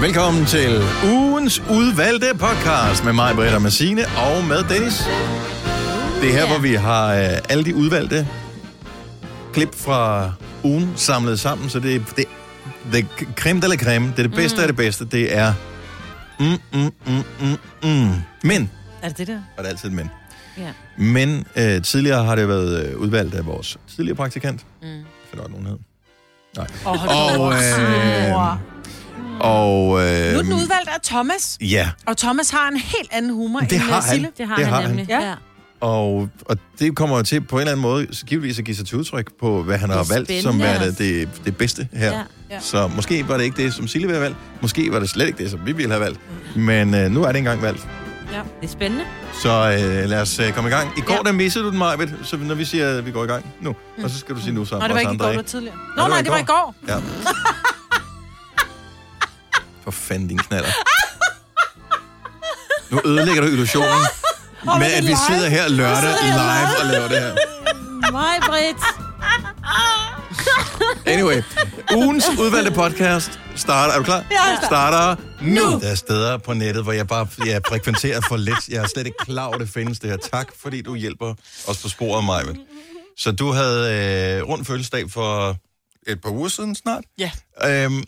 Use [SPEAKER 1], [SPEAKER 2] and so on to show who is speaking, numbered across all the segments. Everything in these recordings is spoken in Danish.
[SPEAKER 1] Velkommen til ugens udvalgte podcast med mig, Britta Massine og med Dennis. Det er her, hvor vi har øh, alle de udvalgte klip fra ugen samlet sammen, så det er det, det er creme de la creme. Det er det bedste mm. af det bedste. Det er... Mm, mm, mm, mm, mm. Men,
[SPEAKER 2] Er det det der?
[SPEAKER 1] og der er altid et men.
[SPEAKER 2] Ja.
[SPEAKER 1] Men øh, tidligere har det været øh, udvalgt af vores tidligere praktikant. Mm. For der nogen hed. Nej.
[SPEAKER 3] Åh, hold da
[SPEAKER 1] og,
[SPEAKER 3] op.
[SPEAKER 1] øh, og øh,
[SPEAKER 3] Nu er den udvalgt af Thomas.
[SPEAKER 1] Ja,
[SPEAKER 3] Og Thomas har en helt anden humor
[SPEAKER 1] Det
[SPEAKER 3] end
[SPEAKER 1] har
[SPEAKER 3] øh,
[SPEAKER 1] han.
[SPEAKER 3] Sille.
[SPEAKER 1] Det har Det han har han. nemlig,
[SPEAKER 3] Ja.
[SPEAKER 2] ja.
[SPEAKER 1] og, og det kommer jo til på en eller anden måde givetvis at give sig til udtryk på, hvad han
[SPEAKER 2] Det er
[SPEAKER 1] har valgt som
[SPEAKER 2] spændende.
[SPEAKER 1] værende det, det bedste her.
[SPEAKER 2] Ja.
[SPEAKER 1] Ja.
[SPEAKER 3] altså. Ja.
[SPEAKER 1] Så måske var det ikke det, som Silje ville have valgt. Måske var det slet ikke det, som vi ville have valgt.
[SPEAKER 3] Mm.
[SPEAKER 1] Men øh, nu er det engang valgt.
[SPEAKER 2] Det er spændende.
[SPEAKER 1] Så øh, lad os øh, komme i gang. I går, ja. der missede du den, Majbet, så når vi siger, at vi går i gang nu. Og så skal du sige nu sammen
[SPEAKER 3] Mm. Nå, det var
[SPEAKER 1] med os
[SPEAKER 3] ikke i går,
[SPEAKER 1] andre,
[SPEAKER 3] det var tidligere. Nå, nej, det var i går.
[SPEAKER 1] Ja. For fanden, din knaller. Nu ødelægger du illusionen med,
[SPEAKER 3] det er
[SPEAKER 1] at vi
[SPEAKER 3] live.
[SPEAKER 1] sidder her lørdag
[SPEAKER 3] Vi sidder
[SPEAKER 1] live
[SPEAKER 3] her
[SPEAKER 1] og laver det her.
[SPEAKER 2] Mig, Britt.
[SPEAKER 1] Anyway, ugens udvalgte podcast starter... Er du klar?
[SPEAKER 3] Ja.
[SPEAKER 1] Starter nu. Der er steder på nettet, hvor jeg bare jeg frekventerer for lidt. Jeg er slet ikke klar over, det findes det her. Tak, fordi du hjælper os på sporet, Maja. Så du havde øh, rundt fødselsdag for et par uger siden snart.
[SPEAKER 3] Ja.
[SPEAKER 1] Øhm,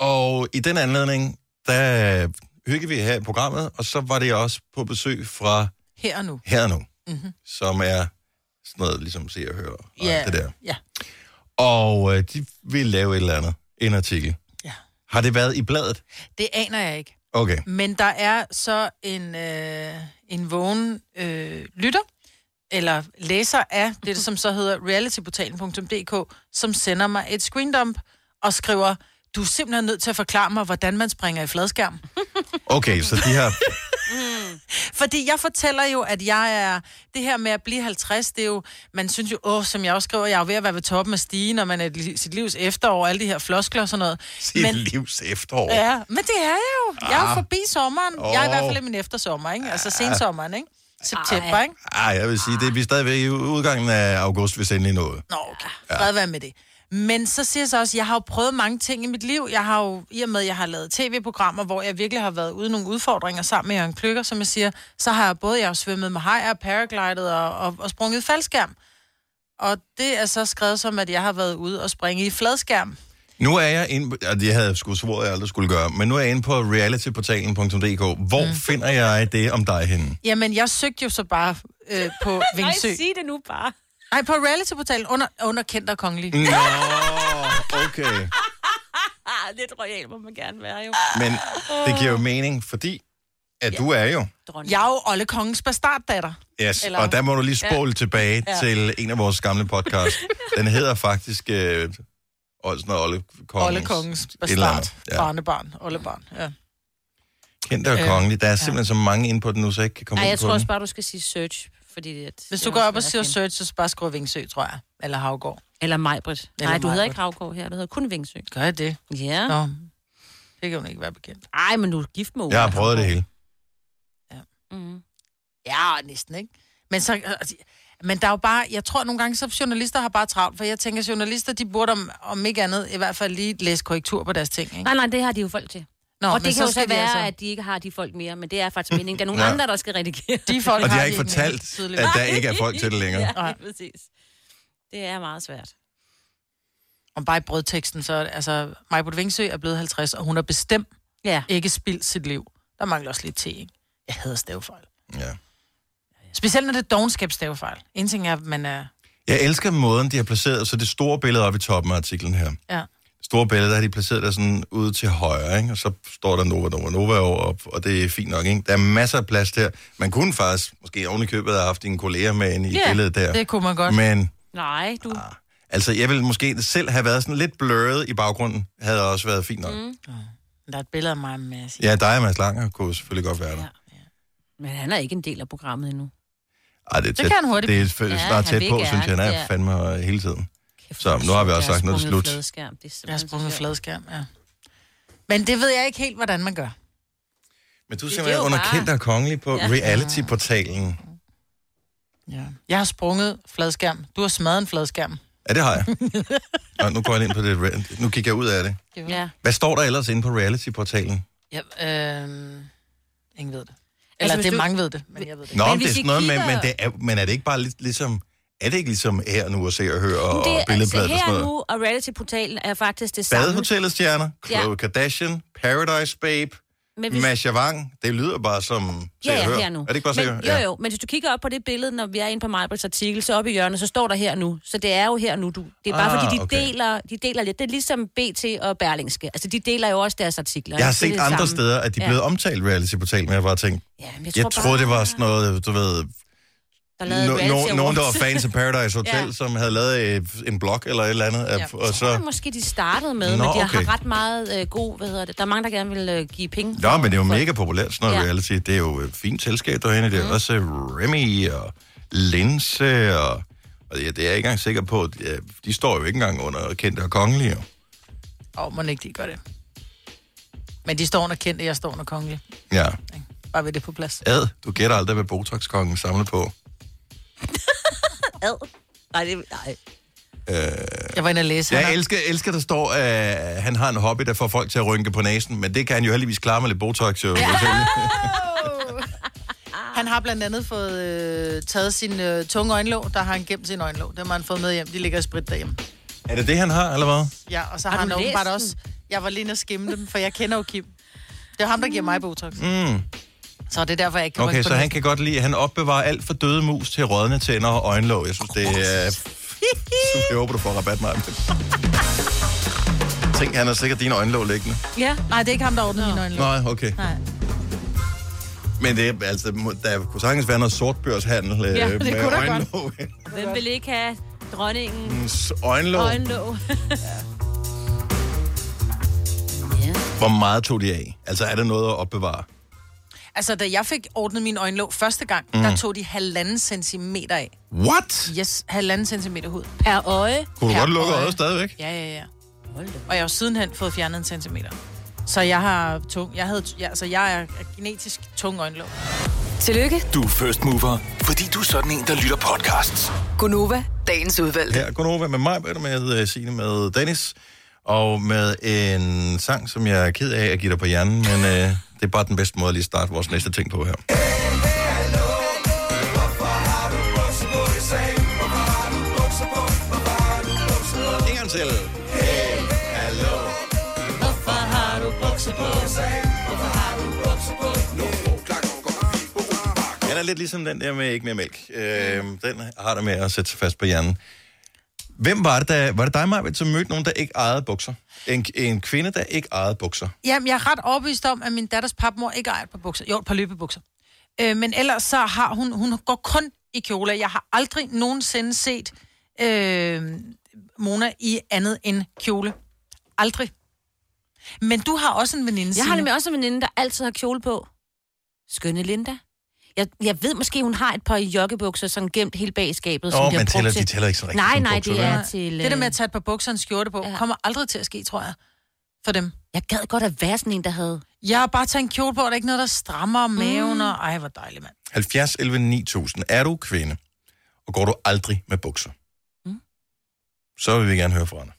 [SPEAKER 1] og i den anledning, der hyggede vi her i programmet, og så var det også på besøg fra
[SPEAKER 3] Her og nu.
[SPEAKER 1] Her og Nu, mm-hmm. som er sådan noget, ligesom se og høre og
[SPEAKER 3] Ja.
[SPEAKER 1] alt det der.
[SPEAKER 3] Ja.
[SPEAKER 1] Og øh, de ville lave et eller andet, en artikel.
[SPEAKER 3] Ja.
[SPEAKER 1] Har det været i bladet?
[SPEAKER 3] Det aner jeg ikke.
[SPEAKER 1] Okay.
[SPEAKER 3] Men der er så en, øh, en vågen øh, lytter, eller læser af det, som så hedder realityportalen.dk, som sender mig et screendump og skriver, du er simpelthen nødt til at forklare mig, hvordan man springer i fladskærm.
[SPEAKER 1] Okay, så de har...
[SPEAKER 3] Fordi jeg fortæller jo, at jeg er... Det her med at blive 50, det er jo... Man synes jo, åh, som jeg også skriver, jeg er jo ved at være ved toppen af stigen, og man er i li- sit livs efterår, alle de her floskler og sådan noget.
[SPEAKER 1] Sit men... livs efterår. Ja.
[SPEAKER 3] Ja, men det er jeg jo. Jeg er jo forbi sommeren. Oh. Jeg
[SPEAKER 1] Åh.
[SPEAKER 3] er i
[SPEAKER 1] Ah.
[SPEAKER 3] hvert fald i min eftersommer, ikke? Altså sensommeren, ikke? September,
[SPEAKER 2] Ej.
[SPEAKER 3] ikke?
[SPEAKER 1] Ej, Ah, jeg vil sige, det er vi stadigvæk i udgangen af august, hvis endelig noget.
[SPEAKER 3] Nå, okay. Fred være med det. Men så siger jeg så også, jeg har jo prøvet mange ting i mit liv. Jeg har jo, i og med, at jeg har lavet tv-programmer, hvor jeg virkelig har været ude i nogle udfordringer sammen med Jørgen Kløkker, som jeg siger, så har jeg både jeg har svømmet med hajer, paraglidet og, og, og sprunget i faldskærm. Og det er så skrevet som, at jeg har været ude og springe i fladskærm.
[SPEAKER 1] Nu er jeg inde på, og det havde jeg sgu svoret, jeg aldrig skulle gøre, men nu er jeg inde på realityportalen.dk. Hvor mm. finder jeg det om dig henne?
[SPEAKER 3] Jamen, jeg søgte jo så bare øh, på Vingsø.
[SPEAKER 2] sig det nu bare.
[SPEAKER 3] Nej, på realityportalen under, under kendt og kongelig.
[SPEAKER 1] Nå, okay.
[SPEAKER 2] Ah, lidt royal må man gerne være jo.
[SPEAKER 1] Men det giver jo mening, fordi at du er jo.
[SPEAKER 2] Dronning.
[SPEAKER 3] Jeg er jo Olle Kongens bastarddatter.
[SPEAKER 1] Yes,
[SPEAKER 3] Eller-
[SPEAKER 1] Eller... og der må du lige spole ja. tilbage ja. til en af vores gamle podcast. Den hedder faktisk øh, Olsen og Olle Kongens.
[SPEAKER 3] Olle Kongens
[SPEAKER 1] et eller andet.
[SPEAKER 3] bastard. Ja. Barnebarn. Ollebarn. Ja.
[SPEAKER 1] Kendte og kongelig. Der er simpelthen så mange inde på den nu, så jeg ikke kan komme
[SPEAKER 2] Ej,
[SPEAKER 1] ind
[SPEAKER 2] jeg
[SPEAKER 1] på
[SPEAKER 2] tror
[SPEAKER 1] den.
[SPEAKER 2] også bare, du skal sige search. Fordi at,
[SPEAKER 3] Hvis du
[SPEAKER 2] det
[SPEAKER 3] går
[SPEAKER 2] er
[SPEAKER 3] op og
[SPEAKER 2] også
[SPEAKER 3] siger
[SPEAKER 2] svært at
[SPEAKER 3] search, så bare skriver Vingsø, tror jeg. Eller Havgård.
[SPEAKER 2] finde. Eller Majbrit.
[SPEAKER 3] Eller
[SPEAKER 2] Nej, du hedder
[SPEAKER 3] Majbrit.
[SPEAKER 2] ikke Havgård her, du hedder kun Vingsø.
[SPEAKER 3] Gør jeg det?
[SPEAKER 2] Ja.
[SPEAKER 3] Nå. Det kan hun ikke være bekendt.
[SPEAKER 2] Nej, men du er gift med Ole
[SPEAKER 1] Jeg har prøvet det hele.
[SPEAKER 2] Mm.
[SPEAKER 3] Ja, næsten ikke. Men, så, altså, men der er jo bare, jeg tror nogle gange, så journalister har bare travlt, for jeg tænker, journalister, de burde om, om ikke andet, i hvert fald lige læse korrektur på deres ting, ikke?
[SPEAKER 2] Nej, nej, det har de jo folk til. Nå,
[SPEAKER 3] Nå,
[SPEAKER 2] og
[SPEAKER 3] men
[SPEAKER 2] det kan jo så
[SPEAKER 3] skal de
[SPEAKER 2] være,
[SPEAKER 3] altså-
[SPEAKER 2] altså... at de ikke har de folk mere, men det er faktisk meningen. Der er nogle
[SPEAKER 1] Ja.
[SPEAKER 2] ja. andre, der skal redigere.
[SPEAKER 3] de folk
[SPEAKER 1] Og de har
[SPEAKER 3] de
[SPEAKER 1] ikke
[SPEAKER 3] mere
[SPEAKER 1] fortalt,
[SPEAKER 3] tydeligvis.
[SPEAKER 1] at der ikke er folk til det længere.
[SPEAKER 2] ja,
[SPEAKER 3] Nej.
[SPEAKER 2] lige præcis. Det er meget svært.
[SPEAKER 3] Om bare i brødteksten, så altså, Majbrit Vingsø er blevet 50, og hun har bestemt
[SPEAKER 2] Ja.
[SPEAKER 3] ikke spildt sit liv. Der mangler også lidt te, ikke? Jeg hader stavefejl.
[SPEAKER 1] Ja.
[SPEAKER 3] Specielt når det er dogenskabsstavefejl. En ting er, at man er...
[SPEAKER 1] Jeg elsker måden, de har placeret, så det store billede oppe i toppen af artiklen her.
[SPEAKER 3] Ja.
[SPEAKER 1] Det store billede, der har de placeret der sådan ude til højre, ikke? og så står der Nova, Nova, Nova over, og, og det er fint nok. Ikke? Der er masser af plads der. Man kunne faktisk, måske oven i købet, have haft dine kolleger med ind i
[SPEAKER 3] Ja,
[SPEAKER 1] billedet der.
[SPEAKER 3] det kunne man godt.
[SPEAKER 1] Men
[SPEAKER 2] Nej, du...
[SPEAKER 1] altså, jeg ville måske selv have været sådan lidt blurret i baggrunden, havde også været fint nok. Mm.
[SPEAKER 3] Der er et billede af mig med at sige,
[SPEAKER 1] Ja, dig og Mads Langer kunne selvfølgelig godt være der.
[SPEAKER 2] Ja. Men han er ikke en del af programmet endnu.
[SPEAKER 1] Ej, det, er tæt,
[SPEAKER 3] kan han hurtigt
[SPEAKER 1] Det er f-
[SPEAKER 2] Ja,
[SPEAKER 1] snart
[SPEAKER 2] han
[SPEAKER 1] tæt
[SPEAKER 2] vil
[SPEAKER 1] på,
[SPEAKER 2] gerne,
[SPEAKER 1] synes jeg, han er
[SPEAKER 2] ja.
[SPEAKER 1] fandme øh, hele tiden.
[SPEAKER 2] Kæft,
[SPEAKER 1] Så,
[SPEAKER 2] hvor
[SPEAKER 1] nu har vi
[SPEAKER 2] sjovt,
[SPEAKER 1] også
[SPEAKER 2] jeg
[SPEAKER 1] sagt, nu er det
[SPEAKER 2] sprunget
[SPEAKER 1] slut.
[SPEAKER 2] Fladskærm. Det er
[SPEAKER 3] jeg har sprunget
[SPEAKER 2] fladskærm.
[SPEAKER 3] fladskærm, ja. Men det ved jeg ikke helt, hvordan man gør.
[SPEAKER 1] Men du er
[SPEAKER 2] Det-
[SPEAKER 1] simpelthen
[SPEAKER 2] det er jo
[SPEAKER 1] underkendt
[SPEAKER 2] bare-
[SPEAKER 1] og kongelig på ja.
[SPEAKER 2] Ja.
[SPEAKER 1] reality-portalen.
[SPEAKER 3] Ja. Jeg har sprunget fladskærm. Du har smadret en fladskærm.
[SPEAKER 1] Ja, det har jeg. Nå, nu går jeg ind på det. re- Nu kigger jeg ud af det.
[SPEAKER 2] Ja.
[SPEAKER 1] Hvad står der ellers inde på reality-portalen?
[SPEAKER 3] Ja, øh, ingen ved det. Eller altså,
[SPEAKER 2] hvis
[SPEAKER 3] det
[SPEAKER 2] du-
[SPEAKER 3] er mange ved det, men jeg ved det ikke.
[SPEAKER 1] Nå, men det
[SPEAKER 2] hvis
[SPEAKER 1] er
[SPEAKER 2] vi
[SPEAKER 1] sådan noget, men,
[SPEAKER 2] kigger-
[SPEAKER 1] men, det er, men er det ikke bare lidt, ligesom... Er det ikke ligesom her nu at se og høre og,
[SPEAKER 2] det
[SPEAKER 1] og
[SPEAKER 2] er, altså,
[SPEAKER 1] billedbladet og
[SPEAKER 2] her
[SPEAKER 1] sådan
[SPEAKER 2] og
[SPEAKER 1] noget?
[SPEAKER 2] nu, og reality-portalen er faktisk det samme.
[SPEAKER 1] Badehotellets stjerner,
[SPEAKER 2] Ja.
[SPEAKER 1] Khloe Kardashian, Paradise Babe,
[SPEAKER 2] Men hvis-
[SPEAKER 1] Masha Wang. Det lyder bare som se
[SPEAKER 2] Ja,
[SPEAKER 1] og
[SPEAKER 2] ja,
[SPEAKER 1] høre.
[SPEAKER 2] her nu.
[SPEAKER 1] Er det ikke bare se
[SPEAKER 2] men,
[SPEAKER 1] og høre?
[SPEAKER 2] Jo, jo, men hvis du kigger op på det billede, når vi er inde på Majbrits artikel, så oppe i hjørnet, så står der her nu. Så det er jo her nu, du. Det er bare
[SPEAKER 1] Ah,
[SPEAKER 2] ah, fordi, de,
[SPEAKER 1] okay.
[SPEAKER 2] okay. deler, de deler lidt. Det er ligesom BT og Berlingske. Altså, de deler jo også deres artikler.
[SPEAKER 1] Jeg har
[SPEAKER 2] ikke? Så det
[SPEAKER 1] set
[SPEAKER 2] er det
[SPEAKER 1] andre
[SPEAKER 2] samme.
[SPEAKER 1] steder, at de er blevet omtalt reality-portalen, men jeg har bare tænkt,
[SPEAKER 2] Ja, men jeg tror,
[SPEAKER 1] jeg troede, det var sådan noget, du ved,
[SPEAKER 2] Der lavede
[SPEAKER 1] no, no,
[SPEAKER 2] reality
[SPEAKER 1] nogen, der var
[SPEAKER 2] awards.
[SPEAKER 1] fans af Paradise Hotel,
[SPEAKER 2] Ja.
[SPEAKER 1] ja. som havde lavet øh, en blog eller et eller andet, ja.
[SPEAKER 3] Ja.
[SPEAKER 1] og
[SPEAKER 2] Det tror jeg
[SPEAKER 1] så...
[SPEAKER 2] måske, de startede med,
[SPEAKER 1] Nå,
[SPEAKER 2] Nå, men de
[SPEAKER 1] okay.
[SPEAKER 2] har ret meget øh, god, hvad hedder det. Der er mange, der gerne vil øh, give penge.
[SPEAKER 1] Nå, men det er jo mega populært, sådan noget ja.
[SPEAKER 2] Ja.
[SPEAKER 1] reality. Det er jo et fint selskab derinde. Det er mm. også øh, Remy og Linse og... og ja, det er jeg ikke engang sikker på. at, ja, De står jo ikke engang under kendte og kongelige. jo.
[SPEAKER 3] Åh, oh, må ikke de gør det. Men de står under kendte, jeg står under kongelig.
[SPEAKER 1] Ja.
[SPEAKER 3] ikke? Bare ved det på plads.
[SPEAKER 1] Ad, du gætter aldrig, hvad Botox-kongen samler på.
[SPEAKER 2] Ad. Nej, det, nej.
[SPEAKER 3] Jeg var inde og læse.
[SPEAKER 1] Ja,
[SPEAKER 3] han
[SPEAKER 1] jeg
[SPEAKER 3] har-
[SPEAKER 1] elsker, elsker der står, at han har en hobby, der får folk til at rynke på næsen, men det kan han jo heldigvis klare med lidt Botox. Jo. Ja.
[SPEAKER 3] Han har blandt andet fået øh, taget sin øh, tunge øjenlåg, der har han gemt sin øjenlåg. Dem har han fået med hjem. De ligger i sprit derhjemme.
[SPEAKER 1] Er det det, han har, eller hvad?
[SPEAKER 3] Ja, og så har,
[SPEAKER 2] Har
[SPEAKER 3] han
[SPEAKER 2] du læst
[SPEAKER 3] åbenbart
[SPEAKER 2] den?
[SPEAKER 3] også... Jeg var lige inde og skimme dem, for jeg kender jo Kim. Det er ham, der giver mig Botox. Mm. Så det er derfor, jeg ikke kan
[SPEAKER 1] Okay,
[SPEAKER 3] rykke
[SPEAKER 1] så
[SPEAKER 3] på
[SPEAKER 1] han kan godt lide, at han opbevarer alt for døde mus til rådne tænder og øjenlåg. Jeg synes, det er... Super, jeg håber, du får rabat, mig. Tænk, han har sikkert dine øjenlåg liggende.
[SPEAKER 2] Ja.
[SPEAKER 3] Nej, det er ikke ham, der ordner mine øjenlåg.
[SPEAKER 1] Nej, okay.
[SPEAKER 3] Nej.
[SPEAKER 1] Men det, er- altså, må- der kunne sagtens være noget sortbørshandel øh,
[SPEAKER 2] Ja, det
[SPEAKER 1] med
[SPEAKER 2] kunne der
[SPEAKER 1] øjenlåg.
[SPEAKER 2] Hvem vil ikke have dronningen
[SPEAKER 1] øjenlåg.
[SPEAKER 2] øjenlåg? ja.
[SPEAKER 1] Hvor meget tog de af? Altså, er der noget at opbevare?
[SPEAKER 3] Altså, da jeg fik ordnet min øjenlåg første gang, mm. der tog de halvanden centimeter af.
[SPEAKER 1] What?
[SPEAKER 3] Yes, halvanden centimeter hud.
[SPEAKER 2] Per øje.
[SPEAKER 1] Kunne du
[SPEAKER 3] Per
[SPEAKER 1] godt lukke
[SPEAKER 3] øje.
[SPEAKER 1] øjet stadigvæk?
[SPEAKER 3] Ja, ja, ja.
[SPEAKER 2] Hold da.
[SPEAKER 3] Og jeg har jo sidenhen fået fjernet en centimeter. Så jeg har tung... Jeg, havde, ja, altså, jeg er genetisk tung øjenlåg.
[SPEAKER 4] Tillykke,
[SPEAKER 5] Du er first mover, fordi du er sådan en, der lytter podcasts.
[SPEAKER 4] Gunova, dagens udvalgte.
[SPEAKER 1] Her er Gunova med mig, Britta, med øh, Signe, med Dennis, og med en sang, som jeg er ked af at give dig på hjernen, men øh, det er bare den bedste måde at lige starte vores næste ting på her. En gang til. Den er lidt ligesom den der med ikke mere mælk. Øh, den har der med at sætte sig fast på hjernen. Hvem var det, der, var det dig, Maja, som mødte nogen, der ikke ejede bukser? En, en kvinde, der ikke ejede bukser.
[SPEAKER 3] Jamen, jeg er ret overbevist om, at min datters papmor ikke ejer et par bukser. Jo, et par løbebukser. Øh, men ellers så har hun... Hun går kun i kjole. Jeg har aldrig nogensinde set øh, Mona i andet end kjole. Aldrig. Men du har også en veninde,
[SPEAKER 2] Jeg har
[SPEAKER 3] Signe.
[SPEAKER 2] nemlig også en veninde, der altid har kjole på. Skønne Linda. Jeg, jeg ved måske, hun har et par joggebukser, som gemt helt bag i skabet. som
[SPEAKER 1] Åh,
[SPEAKER 2] bliver
[SPEAKER 1] men
[SPEAKER 2] brugt
[SPEAKER 1] tæller,
[SPEAKER 2] til-
[SPEAKER 1] de tæller ikke så rigtigt.
[SPEAKER 2] Nej,
[SPEAKER 1] som
[SPEAKER 2] nej,
[SPEAKER 1] bukser,
[SPEAKER 2] det
[SPEAKER 1] vel?
[SPEAKER 2] er til...
[SPEAKER 3] Det der med
[SPEAKER 2] øh,
[SPEAKER 3] at tage et par bukser og en skjorte på,
[SPEAKER 2] Ja.
[SPEAKER 3] ja. kommer aldrig til at ske, tror jeg, for dem.
[SPEAKER 2] Jeg gad godt at være sådan en, der havde...
[SPEAKER 3] Jeg har bare taget en kjole på, og der er ikke noget, der strammer
[SPEAKER 2] Mm.
[SPEAKER 3] maven, og ej, hvor dejligt, mand.
[SPEAKER 1] 70, 11, 9000. Er du kvinde, og går du aldrig med bukser?
[SPEAKER 2] Mm.
[SPEAKER 1] Så vil vi gerne høre fra dig.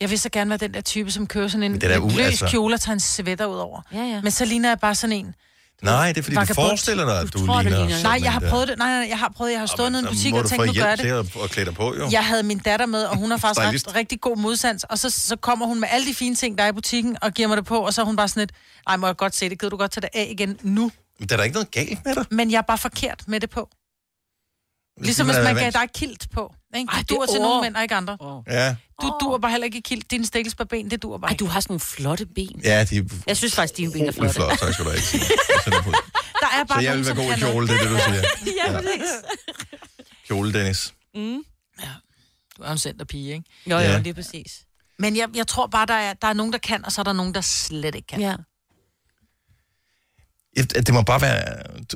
[SPEAKER 3] Jeg vil så gerne være den der type, som kører sådan en
[SPEAKER 1] Men det er da
[SPEAKER 3] en
[SPEAKER 1] u-
[SPEAKER 3] løs
[SPEAKER 1] altså-
[SPEAKER 3] kjole og tager en sweater ud over.
[SPEAKER 2] Ja, ja.
[SPEAKER 3] Men så ligner jeg bare sådan en.
[SPEAKER 1] Nej, det er fordi, du
[SPEAKER 3] Vagabond.
[SPEAKER 1] forestiller dig, at du,
[SPEAKER 2] Du tror, du
[SPEAKER 1] ligner...
[SPEAKER 2] ligner-
[SPEAKER 1] sådan
[SPEAKER 3] Nej,
[SPEAKER 1] en
[SPEAKER 3] jeg har
[SPEAKER 1] der.
[SPEAKER 3] prøvet det. Nej, nej, jeg har prøvet. Jeg har
[SPEAKER 1] øh, Nå,
[SPEAKER 3] stået nede i
[SPEAKER 1] men
[SPEAKER 3] en
[SPEAKER 1] så
[SPEAKER 3] butik
[SPEAKER 1] må
[SPEAKER 3] og
[SPEAKER 1] du
[SPEAKER 3] tænkt,
[SPEAKER 1] få
[SPEAKER 3] nu gør
[SPEAKER 1] hjælp
[SPEAKER 3] jeg
[SPEAKER 1] til
[SPEAKER 3] det.
[SPEAKER 1] at, at klæde dig på, jo.
[SPEAKER 3] Jeg havde min datter med, og hun har faktisk
[SPEAKER 1] Stylist.
[SPEAKER 3] ret, rigtig god modsans. Og så, så kommer hun med alle de fine ting, der er i butikken, og giver mig det på, og så er hun bare sådan lidt, ej, må jeg godt se det, gider du godt tage det af igen nu?
[SPEAKER 1] Men der er da ikke noget galt med dig.
[SPEAKER 3] Men jeg er bare forkert med det på. Ligesom
[SPEAKER 1] Det
[SPEAKER 3] hvis
[SPEAKER 1] er
[SPEAKER 3] man
[SPEAKER 1] vant-
[SPEAKER 3] gav dig kilt på. Ikke?
[SPEAKER 2] Ej,
[SPEAKER 3] Ej,
[SPEAKER 2] det
[SPEAKER 3] du duer til
[SPEAKER 2] er over.
[SPEAKER 3] nogle mænd, og ikke andre.
[SPEAKER 2] Oh.
[SPEAKER 1] Ja.
[SPEAKER 3] Du duer bare heller ikke i kilt. Din stikkelsbarben, det duer bare
[SPEAKER 2] Ej,
[SPEAKER 3] ikke.
[SPEAKER 2] du har sådan nogle flotte ben.
[SPEAKER 1] ja, de er
[SPEAKER 2] Jeg synes faktisk, dine ben er
[SPEAKER 1] utrolig
[SPEAKER 2] flotte.
[SPEAKER 1] flotte. Tak skal du have. Signe. Jeg sætter på.
[SPEAKER 3] Der er bare
[SPEAKER 1] Så jeg
[SPEAKER 3] nogen,
[SPEAKER 1] vil være
[SPEAKER 3] som
[SPEAKER 1] god i
[SPEAKER 3] kan
[SPEAKER 1] kjole,
[SPEAKER 3] noget.
[SPEAKER 1] det er det, du siger.
[SPEAKER 2] ja, præcis.
[SPEAKER 1] Kjole, Dennis.
[SPEAKER 3] Du er en centerpige, ikke?
[SPEAKER 2] Jo, jo,
[SPEAKER 1] Ja.
[SPEAKER 2] lige præcis.
[SPEAKER 3] Men jeg, jeg tror bare, der er, der er nogen, der kan, og så er der nogen, der slet ikke kan.
[SPEAKER 2] Ja.
[SPEAKER 1] Ja, Det må bare være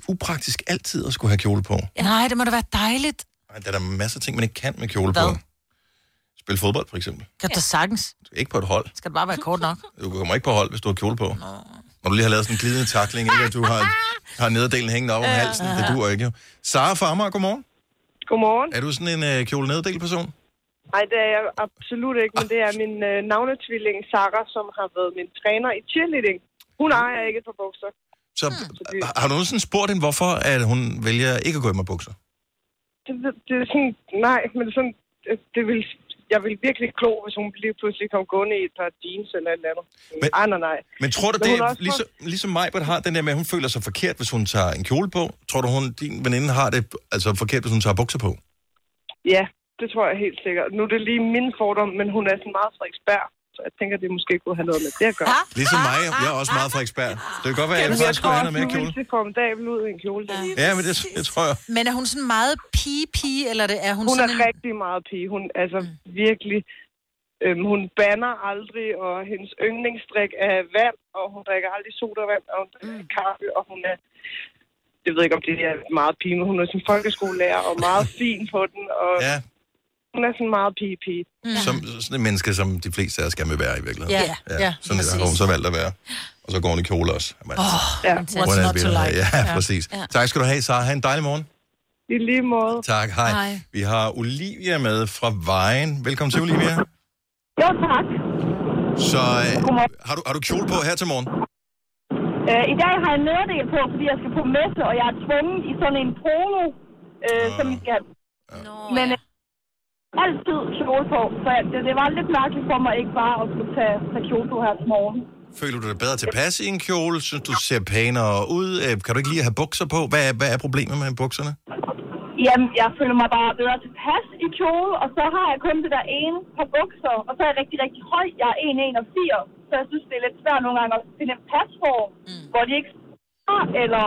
[SPEAKER 1] upraktisk altid at skulle have kjole på.
[SPEAKER 3] Ja. Nej, det må da være dejligt.
[SPEAKER 1] Ej, Der er der masser af ting, man ikke kan med kjole
[SPEAKER 3] Hvad?
[SPEAKER 1] på. Spille fodbold, for eksempel.
[SPEAKER 3] Kan du da sagtens?
[SPEAKER 1] Du er Ikke på et hold.
[SPEAKER 3] Skal det bare være kort nok?
[SPEAKER 1] Du kommer ikke på hold, hvis du har kjole på. Når du lige har lavet sådan en glidende takling, ikke? At du har, har nederdelen hængende op om halsen. Det duer ikke, jo. Sara fra Amager, godmorgen.
[SPEAKER 6] Godmorgen.
[SPEAKER 1] Er du sådan en øh, kjole neddel person?
[SPEAKER 6] Nej, det er jeg absolut ikke, men det er min øh, navnetvilling, Sara, som har været min træner i cheerleading. Hun ejer ikke et par bukser.
[SPEAKER 1] Så har- har du nogensinde spurgt hende, hvorfor at hun vælger ikke at gå i med bukser?
[SPEAKER 6] Det, det, det er sådan, nej, men sådan, det, det vil, jeg vil virkelig klo, hvis hun lige pludselig kom gående i et par jeans eller et eller andet. Men,
[SPEAKER 1] Men-
[SPEAKER 6] Ej, nej, nej.
[SPEAKER 1] Men tror du,
[SPEAKER 6] Men
[SPEAKER 1] det
[SPEAKER 6] hun har
[SPEAKER 1] er,
[SPEAKER 6] også
[SPEAKER 1] ligesom, ligesom Majbert har den der med, at hun føler sig forkert, hvis hun tager en kjole på? Tror du, hun, din veninde har det altså forkert, hvis hun tager bukser på?
[SPEAKER 6] Ja, det tror jeg helt sikkert. Nu er det lige min fordom, men hun er sådan meget Frederiksberg, så jeg tænker, det måske kunne have noget med det at gøre. Ah,
[SPEAKER 1] Ligesom mig, jeg er også
[SPEAKER 3] ah,
[SPEAKER 1] meget fra ekspert. Det kan godt være, at jeg faktisk skulle have noget mere kjole.
[SPEAKER 6] ville se formidabel ud i en kjole. Ja.
[SPEAKER 1] Ja, men det, det tror jeg.
[SPEAKER 3] Men er hun sådan meget pige-pige, eller det, er hun,
[SPEAKER 6] Hun er
[SPEAKER 3] sådan en...
[SPEAKER 6] rigtig meget pige. Hun altså virkelig... Øhm, hun banner aldrig, og hendes yndlingsdrik er vand, og hun drikker aldrig sodavand, og hun drikker mm. kaffe, og hun er... Jeg ved ikke, om det er meget pige, men hun er sådan folkeskolelærer, og meget fin på den, og ja.
[SPEAKER 1] Ja,
[SPEAKER 6] hun er sådan meget pige-pige.
[SPEAKER 1] som sådan en menneske, som de fleste af os gerne vil være i virkeligheden.
[SPEAKER 2] Ja,
[SPEAKER 3] Mm. ja,
[SPEAKER 1] sådan
[SPEAKER 3] præcis.
[SPEAKER 1] det har hun så valgt at være. Og så går hun i kjole også. Oh,
[SPEAKER 6] Ja,
[SPEAKER 3] What's not to like?
[SPEAKER 1] Ja, ja, præcis. Ja. Tak skal du have, Sara. Ha' en dejlig morgen.
[SPEAKER 6] i lige måde.
[SPEAKER 1] Tak, hej.
[SPEAKER 3] Hej.
[SPEAKER 1] Vi har Olivia med fra Vejen. Velkommen til, Olivia.
[SPEAKER 6] Jo, tak.
[SPEAKER 1] Så øh, har, du, har du kjole på her til morgen?
[SPEAKER 7] Øh, I dag har jeg nederdel på, fordi jeg skal på messe, og jeg er tvunget i sådan en polo, øh, som vi skal have
[SPEAKER 2] Nå,
[SPEAKER 7] Men,
[SPEAKER 2] ja.
[SPEAKER 7] øh, altid kjole på. Så jeg, det, det, var lidt mærkeligt for mig ikke bare at skulle tage, tage kjole på her til morgen.
[SPEAKER 1] Føler du dig bedre tilpas i en kjole? Synes du ser pænere ud? Øh, Kan du ikke lige have bukser på? Hvad er, hvad er problemet med bukserne?
[SPEAKER 7] Jamen, jeg føler mig bare bedre tilpas i kjole, og så har jeg kun det der ene par bukser, og så er jeg rigtig, rigtig høj. Jeg er 1,81, så jeg synes, det er lidt svært nogle gange at finde en pasform, mm. hvor de ikke sidder, eller...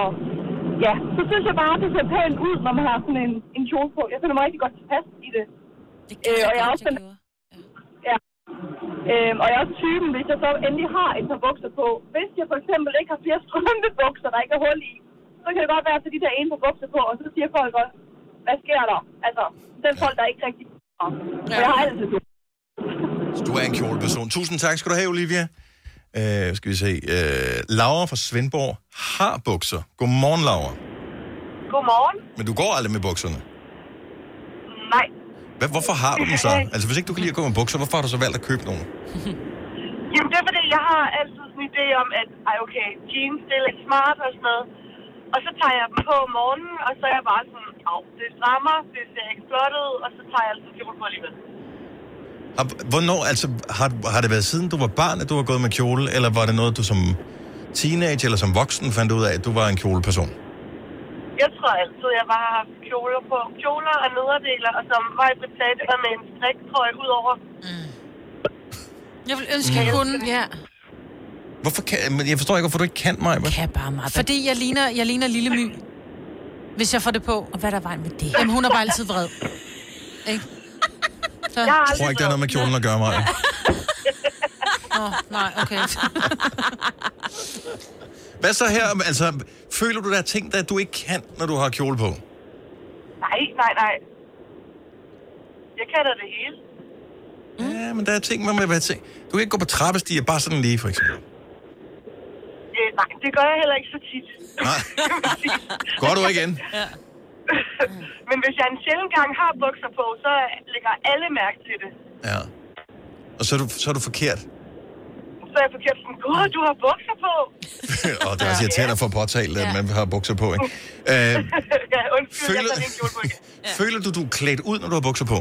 [SPEAKER 7] Ja, så synes jeg bare, det ser pænt ud, når man har sådan en, en kjole på. Jeg føler mig rigtig godt tilpas i det.
[SPEAKER 2] Det kan jeg
[SPEAKER 7] Øh, og jeg er
[SPEAKER 2] godt,
[SPEAKER 7] også
[SPEAKER 2] jeg
[SPEAKER 7] den-
[SPEAKER 2] gjorde.
[SPEAKER 7] Øhm, og jeg er også typen, hvis jeg så endelig har et par bukser på. Hvis jeg for eksempel ikke har flere strømpebukser, der ikke er hul i, så kan det godt være, at jeg tager de der ene par bukser på, og så siger folk også, hvad sker der? Altså, den folk, der ikke rigtig ja. For jeg har altid det.
[SPEAKER 1] Så Du er en kjoleperson. Tusind tak skal du have, Olivia. Øh, skal vi se. Øh, Laura fra Svendborg har bukser. Godmorgen, Laura.
[SPEAKER 7] Godmorgen.
[SPEAKER 1] Men du går aldrig med bukserne.
[SPEAKER 7] Nej.
[SPEAKER 1] Hvad, hvorfor har du dem så? Altså, hvis ikke du kan lide at gå med bukser, hvorfor har du så valgt at købe nogle?
[SPEAKER 7] Jamen, det er fordi, jeg har altid sådan en idé om, at ej, okay, jeans, det er lidt smart og sådan noget. Og så tager jeg dem på om morgenen, og så er jeg bare sådan, au, det strammer, det ser ikke flot ud, og så tager jeg altid kjole på alligevel.
[SPEAKER 1] Har, hvornår, altså, har, har det været siden du var barn, at du har gået med kjole, eller var det noget, du som teenage eller som voksen fandt ud af, at du var en kjoleperson?
[SPEAKER 7] Jeg tror altid, jeg bare har haft kjoler på. Kjoler og nederdeler, og som var i sagde, det var med en striktrøje ud over.
[SPEAKER 3] Jeg vil ønske,
[SPEAKER 1] Mm.
[SPEAKER 3] at jeg kunne...
[SPEAKER 2] Ja.
[SPEAKER 1] Hvorfor kan, men jeg forstår ikke, hvorfor du ikke kan mig.
[SPEAKER 2] Kan bare meget. Fordi...
[SPEAKER 3] Fordi jeg ligner, jeg ligner Lille My, hvis jeg får det på.
[SPEAKER 2] Og hvad er der vej med det?
[SPEAKER 3] Jamen, hun er bare altid vred. Ikke? Så,
[SPEAKER 7] Jeg har
[SPEAKER 1] Jeg tror
[SPEAKER 7] aldrig
[SPEAKER 1] ikke, det har noget med kjolen at gøre, mig.
[SPEAKER 3] nå, nej, okay.
[SPEAKER 1] Hvad så her? Altså, føler du, der er ting, der du ikke kan, når du har kjole på?
[SPEAKER 7] Mm. Nej, nej, nej. Jeg kan da det hele.
[SPEAKER 1] Mm. Ja, men der er ting, man må være ting. Du kan ikke gå på trappestiger bare sådan lige, for eksempel.
[SPEAKER 7] Øh, nej, det gør jeg heller ikke så tit.
[SPEAKER 1] Nej. Går du igen?
[SPEAKER 7] Men hvis jeg en sjældent gang har bukser på, så lægger alle mærke til det.
[SPEAKER 1] Ja. Og så er du, så er du forkert.
[SPEAKER 7] Så er jeg forkert sådan, gud, du har bukser på.
[SPEAKER 1] og det er også irriterende at få påtalt, at man har bukser på, ikke? Øh,
[SPEAKER 7] ja, undskyld, jeg
[SPEAKER 1] Føler-
[SPEAKER 7] tager din kjole på igen.
[SPEAKER 1] føler du, du er klædt ud, når du har bukser på?